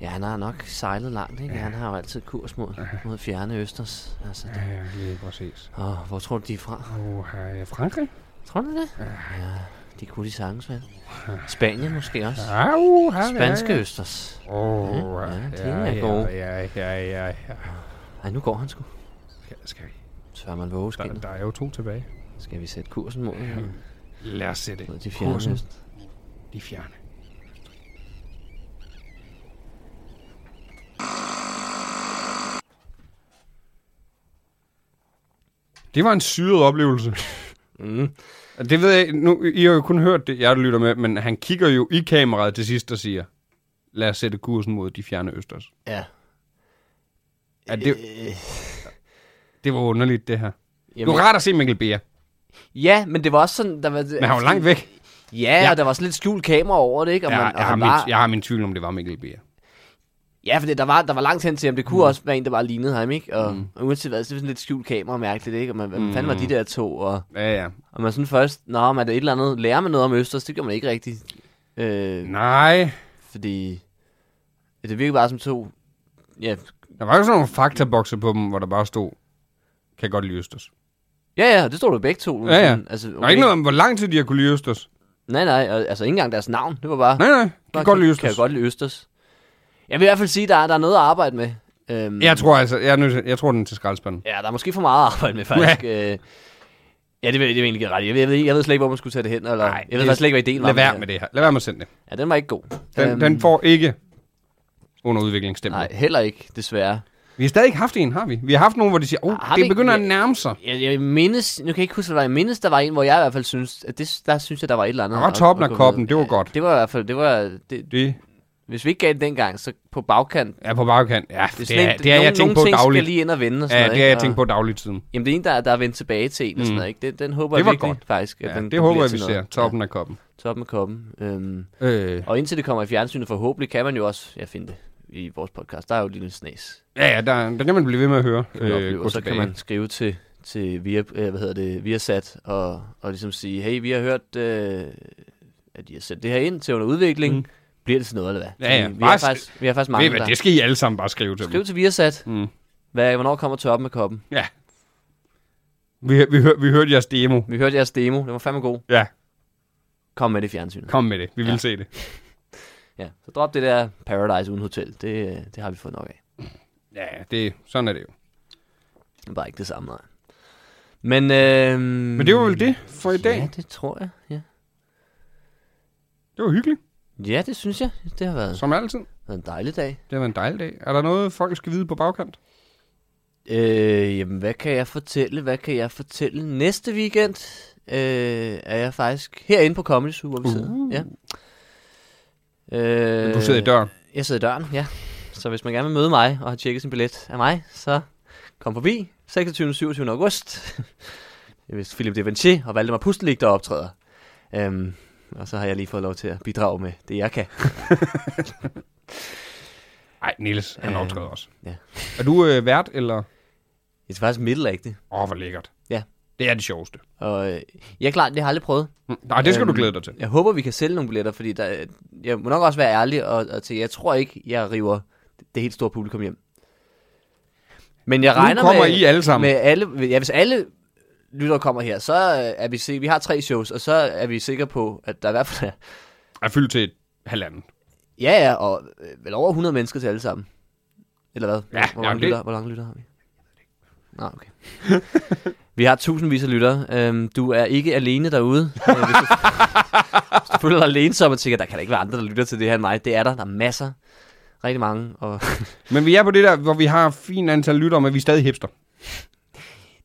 Ja, han har nok sejlet langt, ikke? Han har jo altid kurs mod, mod fjerne østers. Altså, det,
Ja, lige præcis.
åh, hvor tror du, de er fra?
Åh, her er Frankrig.
Tror du det? Ja. Det kunne de sagtens være. Spanien måske også.
Au, ha,
Spanske østers.
Åh,
Ja, det
ja,
er
ja,
gode.
ja, ja, ja, ja.
Ej, nu går han sgu.
Skal- Skal vi?
Tør man våge
Der,
skinnet.
der er jo to tilbage.
Skal vi sætte kursen mod,
Lad os se det.
mod de fjerne øst?
De fjerne. Det var en syret oplevelse.
Mm.
Det ved jeg, nu, I har jo kun hørt det, jeg der lytter med, men han kigger jo i kameraet til sidst og siger, lad os sætte kursen mod de fjerne østers.
Ja.
Ja, det,
Øh,
det var underligt, det her. Jamen,
jamen,
det var rart at se Mikkel Bia,
ja, men det var også sådan... Der var,
men han var langt væk.
Ja,
Ja.
ja, og der var sådan lidt skjult kamera over det, ikke? Og
jeg,
man, og
jeg, har
han
min,
var,
jeg har min tvivl om, det var Mikkel Bia.
Ja, for der var, der var langt hen til ham. Det kunne mm. også være en, der bare lignede ham, ikke? Og, mm. og uanset hvad, så er det sådan lidt skjult kamera mærkeligt, ikke? Og man, hvad mm. fanden var de der to? Og,
Ja, ja.
og man sådan først, nå, man er det et eller andet, lærer man noget om Østers? Det gør man ikke rigtigt. Øh,
Nej,
fordi ja, det virker bare som to, ja,
der var jo sådan nogle faktabokse på dem, hvor der bare stod, kan godt lide østers.
ja, ja, det stod der begge to.
Ja, ja.
Sådan, altså,
Der er ikke noget om, hvor lang tid de har kunne lide østers.
Nej, nej, og, altså ikke engang deres navn. Det var bare,
Nej, nej,
bare
kan godt lide
kan jeg
østers.
godt lide Østers. Jeg vil i hvert fald sige, der er, der er noget at arbejde med. Øhm,
Jeg tror altså, jeg, er nødt til, jeg tror, den er til skraldespanden.
Ja, der er måske for meget at arbejde med, faktisk. Ja, øh, ja det vil det vil jeg egentlig give ret i. Jeg ved, jeg, ved, ikke- jeg ved slet ikke, hvor man skulle tage det hen. Eller,
Nej,
Nej, jeg ved
det-
faktisk slet ikke, hvad ideen var.
Lad være med det her. Lad være med at sende det.
Ja, den var ikke god.
Den,
Øhm,
den får ikke under udviklingsstempel.
Nej, heller ikke, desværre.
Vi har stadig ikke haft en, har vi? Vi har haft nogen, hvor de siger, oh,
Ah, Har vi
det
ikke-
begynder at nærme sig.
Jeg, jeg mindes, nu kan jeg ikke huske, hvad der var. Jeg mindes, der var en, hvor jeg i hvert fald synes, at det, der synes jeg, der var et eller andet.
Der var
at-
toppen
at
af
gå
koppen,
med.
det var
Ja,
godt.
Det var i hvert fald, det var, det,
Det
hvis vi ikke gav det dengang, så på bagkant.
er på bagkant. Ja, det,
sådan
er,
en-
det er jeg
nogle-
tænkt på
nogle ting skal
dagligt.
lige ind og vende og sådan
Ja,
noget,
det er jeg
ikke?
tænkt
Og-
på dagligt siden.
Jamen, det er en, der, der er vendt tilbage til en og sådan
Mm.
noget, ikke? Det, den håber
Det
jeg
var
virkelig,
godt.
faktisk. At
Ja,
den,
det
den
håber
bliver
jeg,
til
vi ser.
noget.
Toppen af koppen.
Ja, toppen af koppen. Øhm,
Øh,
Og indtil det kommer i fjernsynet forhåbentlig, kan man jo også ja, finde det i vores podcast. Der er jo et lille snas.
ja, ja, der, der kan man blive ved med at høre. Øh,
Øh,
gå
og så kan
tilbage.
man skrive til, til via, øh, hvad hedder det, via sat og, og ligesom sige, hey, vi har hørt, øh, at I har sendt det her ind til under udvikling.
Mm.
Mm. Bliver det til noget, eller hvad?
Ja, ja.
Fordi Vi,
Bare
har
sk-
faktisk, vi har faktisk
Ved I
mange,
hvad,
der...
det skal I alle sammen bare skrive til
Skriv
dem.
til Viasat,
Mm.
hvad, hvornår kommer toppen med koppen?
Ja. Vi, vi, hør, vi hørte jeres demo.
Vi hørte jeres demo, den var fandme god.
Ja,
Kom med det i fjernsynet.
kom med det. Vi vil se det.
Ja, så drop det der Paradise uden hotel. Det, øh, det har vi fået nok af.
Ja, det, sådan er det jo.
Det er bare ikke det samme, nej. Men, øh,
Men det var vel det for i dag.
Ja, det tror jeg, ja.
Det var hyggeligt,
Ja, det synes jeg. Det har været,
som altid.
været en dejlig dag.
Det var en dejlig dag. Er der noget, folk skal vide på bagkant?
Øh, jamen, hvad kan jeg fortælle? Hvad kan jeg fortælle? Næste weekend øh, er jeg faktisk herinde på Comedy Zoo, hvor vi sidder.
Uh.
Ja. Øh,
Du sidder i døren.
Jeg sidder i døren, ja. Så hvis man gerne vil møde mig og har tjekket sin billet af mig, så kom forbi 26. og 27. august. [LAUGHS] Hvis Philip de Vinci og Valdemar Pustelik, der optræder. Øhm, og så har jeg lige fået lov til at bidrage med det, jeg kan.
Nej, Niels, han
Øh,
optræder også.
ja.
Er du øh, vært, eller?
Det er faktisk middelagtigt.
Åh, oh, hvor lækkert.
Ja.
Det er det sjoveste.
Og øh, jeg er klart, det har jeg aldrig prøvet.
Mm, Nej, det skal
Øhm,
du glæde dig til.
Jeg håber, vi kan sælge nogle billetter, fordi der, jeg må nok også være ærlig og, og til, jeg tror ikke, jeg river det helt store publikum hjem. Men jeg
Nu
regner
kommer
med,
I alle sammen.
med alle, ja, hvis alle lytter kommer her, så øh, er vi sikre, vi har tre shows, og så er vi sikre på, at der i hvert fald er,
Er fyldt til et halvanden.
ja, ja, og øh, vel over 100 mennesker til alle sammen. Eller hvad?
Ja,
hvor,
ja,
mange
det-
lytter, hvor mange lytter har vi? Nå, okay.
[LAUGHS]
vi har tusindvis af lyttere. Øhm, du er ikke alene derude. Øh, hvis, du, hvis du føler dig alene, så og tænker, der kan da ikke være andre, der lytter til det her end mig. Det er der. Der er masser. Rigtig mange. Og [LAUGHS]
Men vi er på det der, hvor vi har fint antal lyttere, men vi er stadig hipster.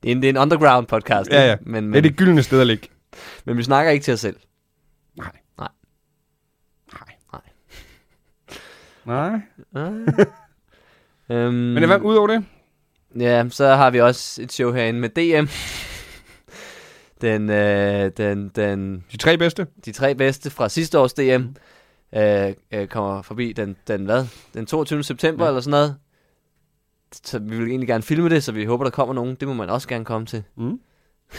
det, er en, det er en underground podcast.
Ja, ja.
ikke? Men,
Det er
men,
det gyldne sted at ligge.
men vi snakker ikke til os selv.
Nej.
Nej.
Nej.
Nej.
Nej.
Ah. øhm,
[LAUGHS] Men hvad ud over det?
Ja, så har vi også et show herinde med DM. [LAUGHS] Den, øh, den, den,
De tre bedste?
de tre bedste fra sidste års DM øh, øh, kommer forbi den, den, hvad? den 22. september
Ja.
ja. eller sådan noget. Så vi vil egentlig gerne filme det, så vi håber, der kommer nogen. Det må man også gerne komme til.
Mm.
[LAUGHS]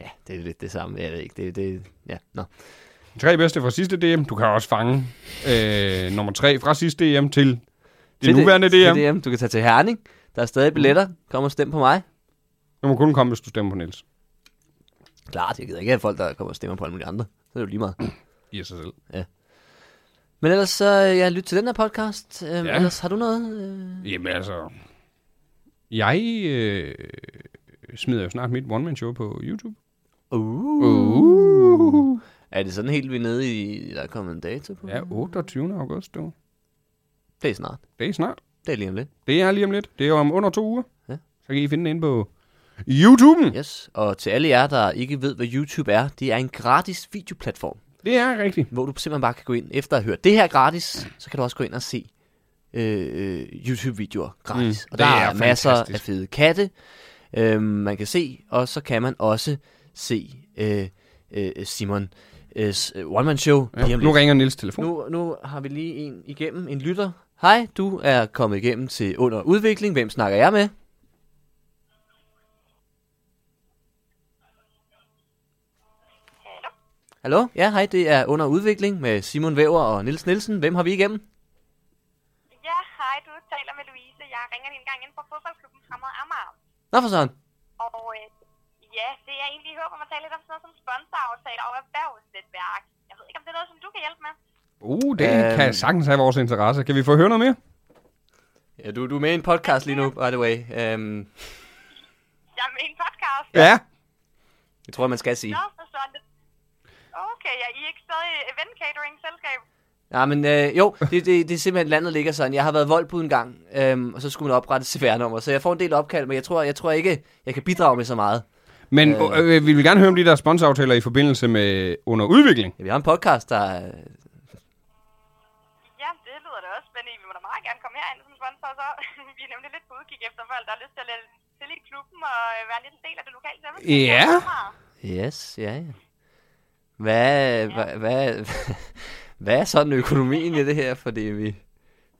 Ja, det er lidt det samme. Jeg ved ikke. Det, det, ja, nå.
De tre bedste fra sidste DM. Du kan også fange øh, nummer tre fra sidste DM til det
Til
nuværende Mm.
til
DM.
DM. Du kan tage til Herning. Der er stadig billetter. Kom og stem på mig.
Du må kun komme, hvis du stemmer på Niels.
Klart, jeg gider ikke have folk, der kommer og stemmer på alle mulige andre. Så er det jo lige meget.
i sig selv.
Men ellers så, øh, ja, lyt til den her podcast. Øhm, ja.
Ja.
Ellers har du noget? Øh,
Jamen altså, jeg øh, smider jo snart mit one-man-show på YouTube.
Uh. uh. Er det sådan helt vi er nede i, der er kommet en dato på?
Ja, 28. august. Du.
Det er snart.
Det er snart.
Det er lige om lidt.
Det er lige om lidt. Det er om under to uger.
Ja.
Så kan I finde det inde på YouTuben.
Yes. Og til alle jer, der ikke ved, hvad YouTube er, det er en gratis videoplatform,
Det er rigtigt.
hvor du simpelthen bare kan gå ind. Efter at have hørt det her gratis, så kan du også gå ind og se øh, øh, YouTube-videoer gratis.
Mm,
Mm, og
det
der
er
er, masser af
fantastisk.
fede katte, øh, man kan se. Og så kan man også se øh, øh, Simon øh, one-man-show
Ja.
lige om
Nu
lidt.
ringer Nils telefon.
Nu, nu har vi lige en igennem, en lytter. Hej, du er kommet igennem til Under Udvikling. Hvem snakker jeg med? Hallo? Ja, hej, det er Under Udvikling med Simon Væver og Nils Nielsen. Hvem har vi igennem?
Ja, hej, du taler med Louise. Jeg ringer lige en gang ind fra fodboldklubben fremad Amager.
Nå for sådan.
Og øh, ja, det er egentlig, jeg håber, man taler lidt om sådan noget som sponsoraftaler og erhvervsnetværk. Jeg ved ikke, om det er noget, som du kan hjælpe med.
Uh, det
Øhm.
kan sagtens have vores interesse. Kan vi få høre noget mere?
Ja, du, du er med i en podcast lige nu, by the way. Øhm,
Jeg er med i en podcast.
Ja.
jeg tror, man skal sige.
Nå, så sådan det. Okay, ja, I er ikke stadig event catering selskab.
Ja, men øh, jo, det, det, det er simpelthen landet ligger sådan. Jeg har været voldbud en gang, øhm, og så skulle man oprette CVR-nummer. Så jeg får en del opkald, men jeg tror, jeg tror ikke, jeg kan bidrage med så meget.
Men øh. Øh, vi vil gerne høre om de der sponsoraftaler i forbindelse med under udvikling.
Ja, vi har en podcast, der... øh,
Ja, det lyder da også spændende. Vi må da meget gerne komme herind som sponsor, så [LAUGHS] vi er nemlig lidt på udkig efter folk, der har lyst til at lade til i klubben og øh, være lidt en del af det lokale samfund.
Ja.
Yes, ja, ja. Hvad, hvad, [LAUGHS] hvad, hvad er sådan økonomien i det her? Fordi vi,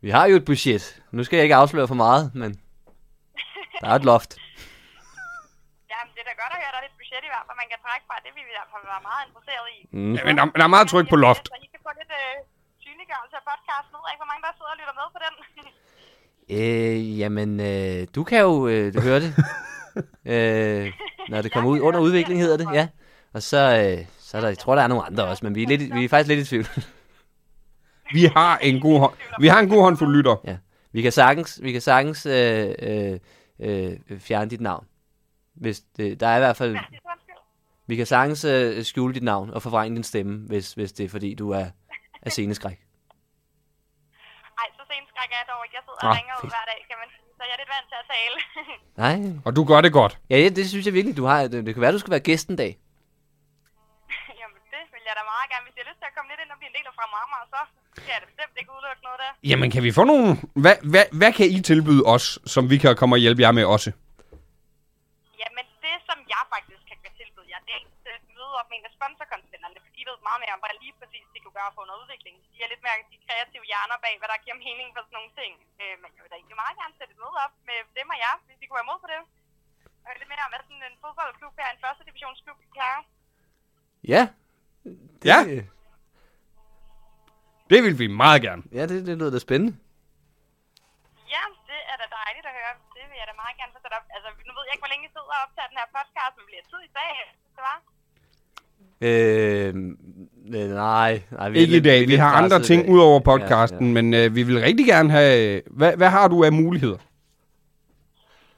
vi har jo et budget. Nu skal jeg ikke afsløre for meget, men der er et loft.
Jamen, det er da godt at høre, at der er lidt budget i hvert fald, man kan trække fra. Det vil vi i hvert fald være meget interesseret i.
Mm. Ja, men der, der er meget tryk på loft.
Så I kan få lidt øh, synliggørelse af podcasten. Jeg ved ikke, hvor mange der sidder og lytter med på den.
[LAUGHS]
[LAUGHS]
Øh, jamen, øh, du kan jo øh, høre det, [LAUGHS] øh, når det kommer ud. Under udvikling hedder det, ja. Og så, øh, så er der, jeg tror, der er nogle andre også, men vi er, lidt, i- vi er faktisk lidt i tvivl. [LAUGHS]
Vi har en god, hå- vi har en god håndfuld lytter.
Ja. Vi kan sagtens, vi kan sagens øh, øh, øh, fjerne dit navn. Hvis det, der er i hvert fald,
Det er undskyld.
vi kan sagtens øh, skjule dit navn og forvrænge din stemme, hvis, hvis det er fordi, du er, er sceneskræk.
Ej, så sent skræk er jeg dog ikke. Jeg sidder
Ah,
og ringer ud
fedt.
hver dag, kan man sige. Så jeg er lidt vant til at tale. [LAUGHS]
Nej.
Og du gør det godt.
Ja, ja, det synes jeg virkelig, du har. Det, det kan være, du skal være gæst en dag.
Jamen, det vil jeg da meget gerne. Hvis jeg har lyst til at komme lidt ind og blive en del af fra Amager, så skal jeg da bestemt ikke udelukke noget der.
Jamen, kan vi få nogle... Hvad, hvad, hvad kan I tilbyde os, som vi kan komme og hjælpe jer med også?
Jamen, det som jeg faktisk kan tilbyde jer, det er at møde op med en af sponsorkonsulenterne, for de ved meget mere om, hvad lige præcis de kunne gøre for under udvikling. De er lidt mere de kreative hjerner bag, hvad der giver mening for sådan nogle ting. Øh, men jeg vil da egentlig meget gerne sætte et møde op med dem og jer, hvis I kunne være imod på det. Og lidt mere om, hvad sådan en fodboldklub her, en første divisionsklub her.
Ja. Det,
Ja. Det vil vi meget gerne.
Ja, det, det lyder da spændende.
Ja, det er da dejligt at høre. Det vil jeg da meget gerne få sat op. Altså, nu ved jeg ikke, hvor længe I sidder og optager den her podcast, men bliver tid i dag, det var?
Øh, øh, nej, nej. Vi er
Ikke i
lidt-
dag.
er
Vi
lidt
har andre
pressede i
ting
dag.
ud over
Ja,
podcasten, men øh, vi vil rigtig gerne have... Hvad, hvad har du af muligheder?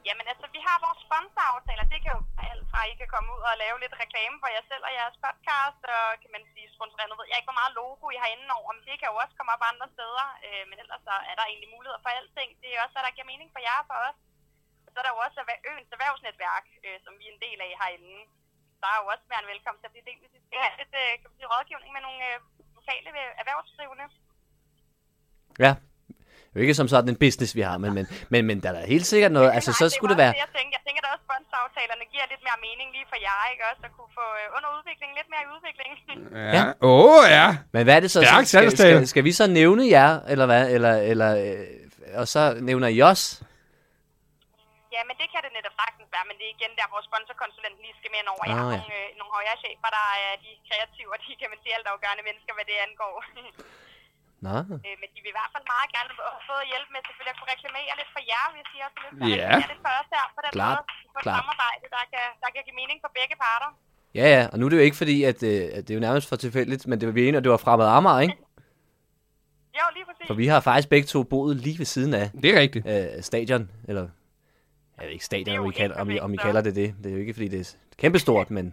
Jamen altså, vi har vores sponsoraftaler. Det kan jo være alt fra, at I kan komme ud og lave lidt reklame for jer selv og jeres podcast, og kan man sige sponsorere noget. ved Jeg ikke, hvor meget logo I har indenover, men det kan jo også komme op andre steder. Øh, men ellers så er der egentlig muligheder for alting. Det er også, hvad der giver mening for jer og for os. Og så er der jo også erhver- øens erhvervsnetværk, øh, som vi er en del af herinde. Der er jo også mere end velkommen til at blive del, hvis I skal have lidt [LAUGHS] øh, kan man sige, rådgivning med nogle øh, lokale øh, erhvervsdrivende.
Ja. Det er jo ikke som sådan en business, vi har, men, men, men, men der er da helt sikkert noget. Altså,
Nej,
så
det er
skulle det
også
være...
Jeg tænker, jeg tænker da også, sponsoraftalerne giver lidt mere mening lige for jer, ikke også? At kunne få øh, under udvikling lidt mere i udvikling. [LAUGHS]
Ja. Åh, oh, ja.
Men hvad er det så?
Stærk
skal, skal,
salgstale.
skal, skal vi så nævne jer, eller hvad? Eller, eller, øh, og så nævner I os?
ja, men det kan det netop sagtens være, men det er igen der, hvor sponsorkonsulenten lige skal med ind over. Jeg
Ah,
har
ja.
nogle, øh, nogle højere chefer, der er de kreative, og de kan man sige altafgørende mennesker, hvad det angår. [LAUGHS]
Nå.
øh, men de vil i hvert fald meget gerne få hjælp med selvfølgelig at kunne reklamere lidt for jer, hvis I også har lyst til at
Ja.
reklamere lidt for os her. På den
Klart,
måde, få et
klart.
samarbejde, der kan, der kan give mening for begge parter.
Ja, ja, og nu er det jo ikke fordi, at, øh, at det er jo nærmest for tilfældigt, men det var vi enige, at det var fremad Amager, ikke?
Jo, lige præcis.
For vi har faktisk begge to boet lige ved siden af
Det er rigtigt.
øh, stadion, eller jeg ved ikke
Det er
stadion,
jo
om I,
helt
kalder, om, I, om I
perfekt, så.
kalder det det. Det er jo ikke, fordi det er kæmpestort, men
Men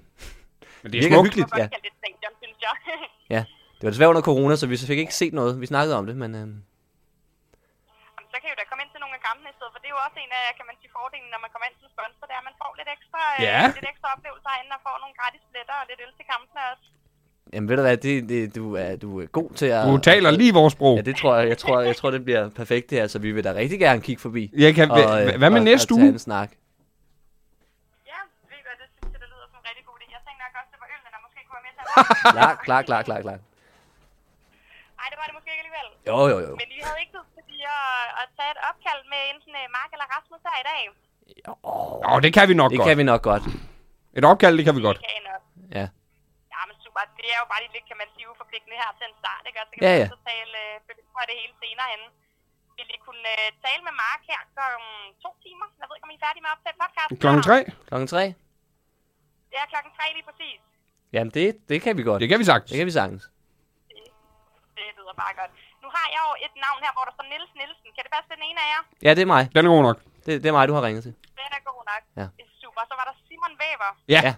det
det er
virker
smukt.
Man
hyggeligt.
kan
Ja.
godt kalde det et stadion, synes jeg. [LAUGHS]
ja. Det var desværre under corona, så vi så fik ikke set noget. Vi snakkede om det, men øh,
Jamen, så kan I jo da komme ind til nogle af kampene i stedet, for det er jo også en af, kan man sige, fordelene, når man kommer ind som sponsor, det er, at man får lidt ekstra,
Ja.
øh, lidt ekstra oplevelser herinde, og får nogle gratis billetter og lidt øl til kampene også.
jamen, ved du hvad, det, det, du, er, du er god til at...
Du taler lige vores sprog.
Ja, det tror jeg. Jeg tror, jeg tror det bliver perfekt det her, så vi vil da rigtig gerne kigge forbi.
Jeg kan,
øh,
og, hvad med
og-
næste
og tage
uge?
en snak.
Ja, ved I hvad, det synes jeg, det lyder som en rigtig god idé. Jeg tænkte nok også, det var ølene, der måske kunne være med
[LAUGHS]
til.
Klar, klar, klar, klar, klar.
Nej, det var det måske ikke alligevel.
Jo, jo, jo.
Men vi havde ikke tid til lige at, at tage et opkald med enten øh, Mark eller Rasmus her i dag.
Åh, det kan vi nok
Det
godt.
kan vi nok godt.
Et opkald, det kan vi godt.
Det kan også.
Ja.
Jamen super, det er jo bare lige lidt, kan man sige, uforpligtende her til en start, ikke? Og så kan
Ja,
vi
ja.
så tale øh, for det hele senere hen. Vil I kunne øh, tale med Mark her klokken to timer? Jeg ved ikke, om I er færdige med at optage podcasten?
Klokken
snart?
3?
Klokken tre?
Ja, klokken tre lige præcis.
Jamen, det, det kan vi godt.
Det kan vi sagtens.
Det kan vi sagtens.
Det lyder bare godt. Nu har jeg jo et navn her, hvor der står Nils Nielsen. Kan det passe det er den ene af jer?
Ja, det er mig.
Den er god nok.
Det, det er mig, du har ringet til.
Den er god nok.
Ja.
Det er super. Så var der Simon Weber.
Ja,
Ja.
ja.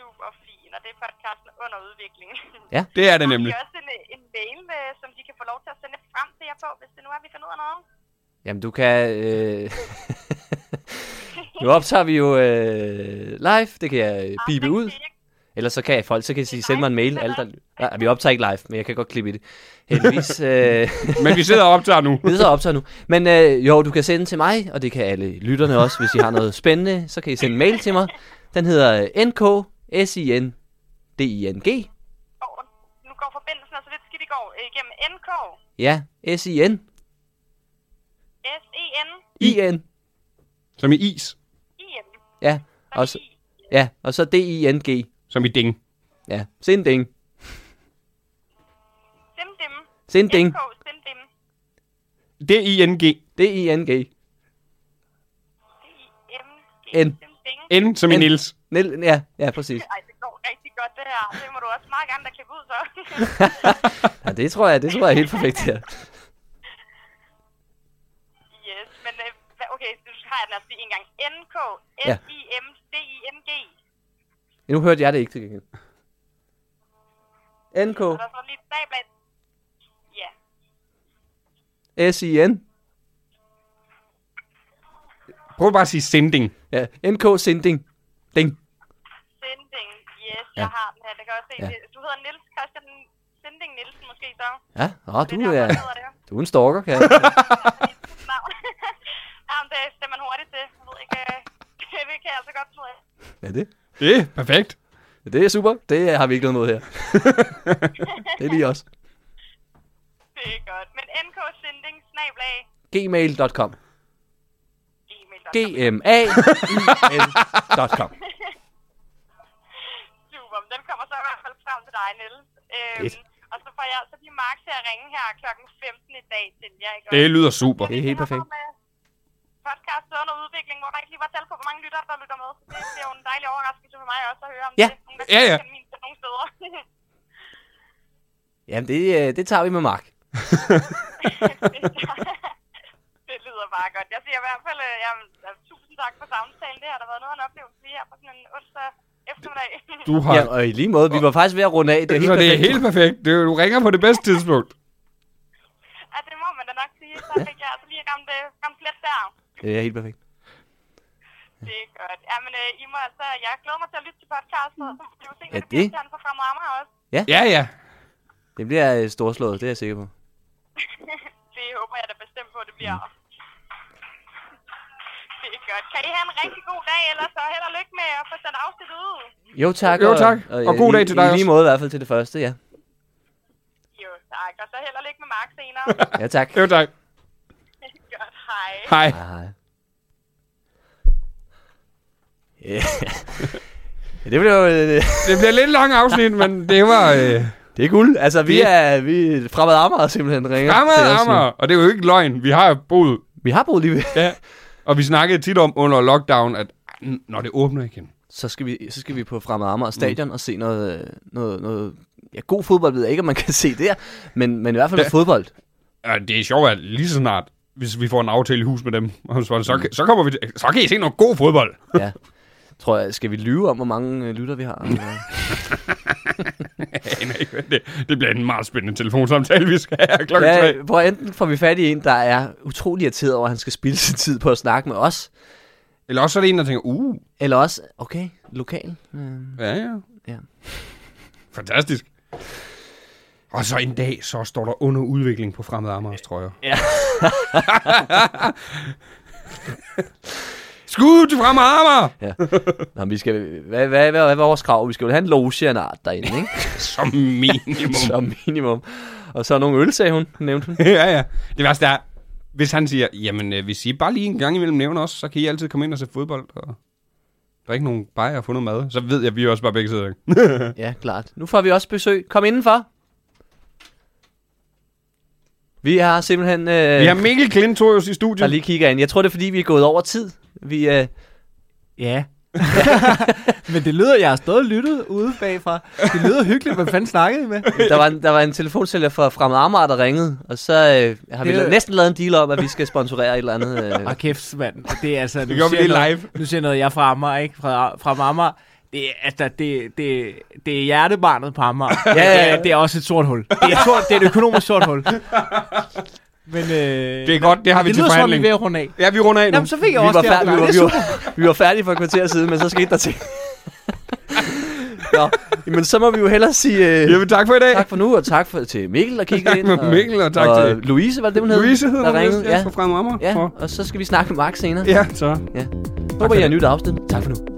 Super fin, og det er podcasten under udvikling.
det er det nemlig.
Der er også en, en mail, øh, som de kan få lov til at sende frem til jer på, hvis det nu er, vi finder ud af noget.
Jamen, du kan... Øh... [LAUGHS] nu optager vi jo øh, live. Det kan
Ah,
jeg bibe ud. Ellers så kan folk, så kan de sige, send mig en mail. Alt der... Nej, vi optager ikke live, men jeg kan godt klippe i det.
[LAUGHS]
Heldigvis. Øh...
Men vi sidder og optager nu.
[LAUGHS] Vi sidder og optager nu. Men øh, jo, du kan sende til mig, og det kan alle lytterne også. Hvis I har noget spændende, så kan I sende en mail til mig. Den hedder øh, nksinding.
Går, nu går forbindelsen altså lidt skidt i går. Øh, Igennem NK,
Ja, S-I-N.
S-E-N,
I-N.
Som i is.
I-N.
Ja, og så, ja, og så D-I-N-G.
Som i ding.
Ja, sinding.
Simdim.
Sinding.
NK, Simdim.
D-I-N-G.
D-I-N-G.
D-I-M-G,
N.
Simding.
N som i
N.
Nils.
Nel, ja, ja, præcis.
Ej, det går rigtig godt det her. Det må du også meget gerne da klippe ud
[LAUGHS]
så.
Ja, det tror jeg, det tror jeg er helt perfekt her.
yes, men øh, hvad- okay, nu har jeg den altså lige en gang. NK,
Ja.
S-I-M-D-I-N-G.
Nu hørte jeg det ikke til gengæld.
Og
NK.
der er så lige et stabel. Ja,
S-I-N.
Prøv bare at sige sending.
Ja, NK sinding. Ding.
Sinding. Yes, ja. jeg har den her. Det kan jeg også se.
Ja.
Ja. Du hedder Nils Christian Sinding Nielsen måske så.
Ja, åh, du
Det er derfor,
er,
jeg hedder det her.
du er en stalker, kan jeg.
[LAUGHS] Navn. [LAUGHS] Jamen, det stemmer man hurtigt til. Jeg ved ikke, øh, [LAUGHS] det kan jeg altså godt finde ud af.
Ja, det.
Det er perfekt.
Det er super. Det har vi ikke noget mod
[LAUGHS]
her. det er lige os.
Det er godt. Men NK Sinding, snablag,
gmail.com
gmail.com.
gma .com.
Super, men den kommer så i hvert fald frem til dig, Niels. Øhm, og så får jeg altså lige Mark til at ringe her klokken 15 i dag til jer. Ikke?
Det lyder super.
Det er helt perfekt.
Podcast under udvikling, hvor der ikke lige var tal på, hvor mange lyttere, der lytter med. Så det, det er jo en dejlig overraskelse for mig også at høre om
Ja.
det. er nogen, der
Ja, ja.
kan min til nogle steder. [LAUGHS]
Jamen, det, øh, det tager vi med Mark.
[LAUGHS] det lyder bare godt. Jeg siger i hvert fald, øh, jamen, altså, tusind tak for samtalen. Det har der været noget af en oplevelse lige her på sådan en onsdag eftermiddag.
Du har...
Ja, og i lige måde, vi var faktisk ved at runde af. Det er helt
så det er
perfekt.
helt perfekt. Det- Du ringer på det bedste tidspunkt.
[LAUGHS] ja, det må man da nok sige. Så fik jeg altså lige ramt, øh, ramt plet der.
Det er helt perfekt.
Det er godt. Jamen, øh, I må altså, jeg glæder mig til at lytte til podcasten, og så må vi jo se,
Mm. Ja,
hvad det
det.
bliver til han får frem rammer også. [LAUGHS]
Ja, ja.
Det bliver øh, storslået, det er jeg sikker på.
Det håber jeg da bestemt på, det bliver.
Mm.
Det er godt. Kan I have en rigtig god dag, ellers så held og lykke med at få sendt afsnittet ud.
Jo, tak.
Jo, tak. Og
øh,
god
i-
dag til dig
I lige
også.
måde i hvert fald til det første, ja.
Jo, tak. Og så held og lykke med Mark senere.
[LAUGHS] Ja, tak.
Jo, tak.
[LAUGHS] godt, hej.
Hej.
Hej, hej. Ja. [LAUGHS] Ja, det blev jo... øh,
Det bliver lidt langt afsnit, men det var... Øh,
Det er guld. Altså, vi
Det-
er, vi er fremad Amager simpelthen ringer.
fremad
til os nu.
Amager. Og det er jo ikke løgn. Vi har jo boet...
Vi har boet lige ved.
Ja. Og vi snakkede tit om under lockdown, at "Ej, når det åbner igen,
så skal vi, så skal vi på Fremad Amager Stadion mm. og se noget, øh, noget, noget ja, god fodbold, ved jeg ikke, om man kan [LAUGHS] se der, men, men i hvert fald
Ja.
noget fodbold.
Ja, det er sjovt, at lige så snart, hvis vi får en aftale i hus med dem, [LAUGHS] og så, så, så, kommer vi til, så kan I se noget god fodbold.
Ja. Tror jeg, skal vi lyve om, hvor mange øh, lytter vi har? Eller?
Jeg aner ikke, hvad [LAUGHS] det, det bliver en meget spændende telefonsamtale, vi skal have klokken ja. tre.
Ja, hvor enten får vi fat i en, der er utrolig irriteret over, at han skal spilde sin tid på at snakke med os,
Eller også er det en, der tænker, uh,
eller også, okay, lokal. Øh,
ja, ja.
Ja.
Fantastisk. Og så en dag, så står der under udvikling på fremmede Amagers trøjer.
Ja.
[LAUGHS] Skud til fremmede Amager!
ja. Nå, men vi skal, hvad, hvad, hvad, hvad er vores krav? Vi skal jo have en loge af en art derinde, ikke?
[LAUGHS] Som [LAUGHS] minimum.
Som minimum. Og så nogle øl, sagde hun, nævnte hun.
ja, ja. Det værste er, hvis han siger, jamen øh, hvis I bare lige en gang imellem nævner os, så kan I altid komme ind og se fodbold. Og der er ikke nogen bajer og få noget mad. Så ved jeg, at vi også bare begge sidder.
Ja, klart. Nu får vi også besøg. Kom indenfor. Vi har simpelthen... Øh,
Vi har Mikkel Klintorius i
der
studiet.
lige kigger ind. Jeg tror, det er, fordi vi er gået over tid. Vi, øh,
Ja. [LAUGHS] men det lyder, jeg har stået og lyttet ude bagfra. Det lyder hyggeligt. Hvad fanden snakkede I med?
der, var en, der var en telefonsælger fra Fremad Amager, der ringede, og så øh, har vi
Det-
la- næsten lavet en deal om, at vi skal sponsorere et eller andet. Øh.
Og kæft, mand. Det er altså...
Det gjorde vi lige live.
Nu siger noget, jeg er fra Amager, ikke? Fra, fra Amager. Det er, altså, det, det, det er hjertebarnet på
[LAUGHS]
Amager. ja,
ja,
ja,
ja.
ja. Det er også et sort hul. Det er et, sort, det er et økonomisk sort
[LAUGHS]
hul. Men øh, det,
Det er godt, det har vi
det
til
lyder som om, vi er
forhandling.
ved at runde af.
Ja, vi runder af nu.
Jamen, så fik jeg
vi,
også
var
det
færdige, vi,
opdrag.
var,
Det
vi,
er
var, vi var færdige for et kvarter siden, men så skete der ting. Nå, men så må vi jo hellere sige øh,
Jamen, tak for i dag.
tak for nu, og tak for, til Mikkel, der kiggede
Tak
ind.
for Mikkel, og tak
og
til-
Louise, var det det, hun hed?
Louise hedder
der
hun,
ringede.
ja,
Ja,
fra Frem Amager.
ja,
Og-
og så skal vi snakke med Mark senere.
Ja, så.
Håber, I har nyt afsnit. Tak for nu.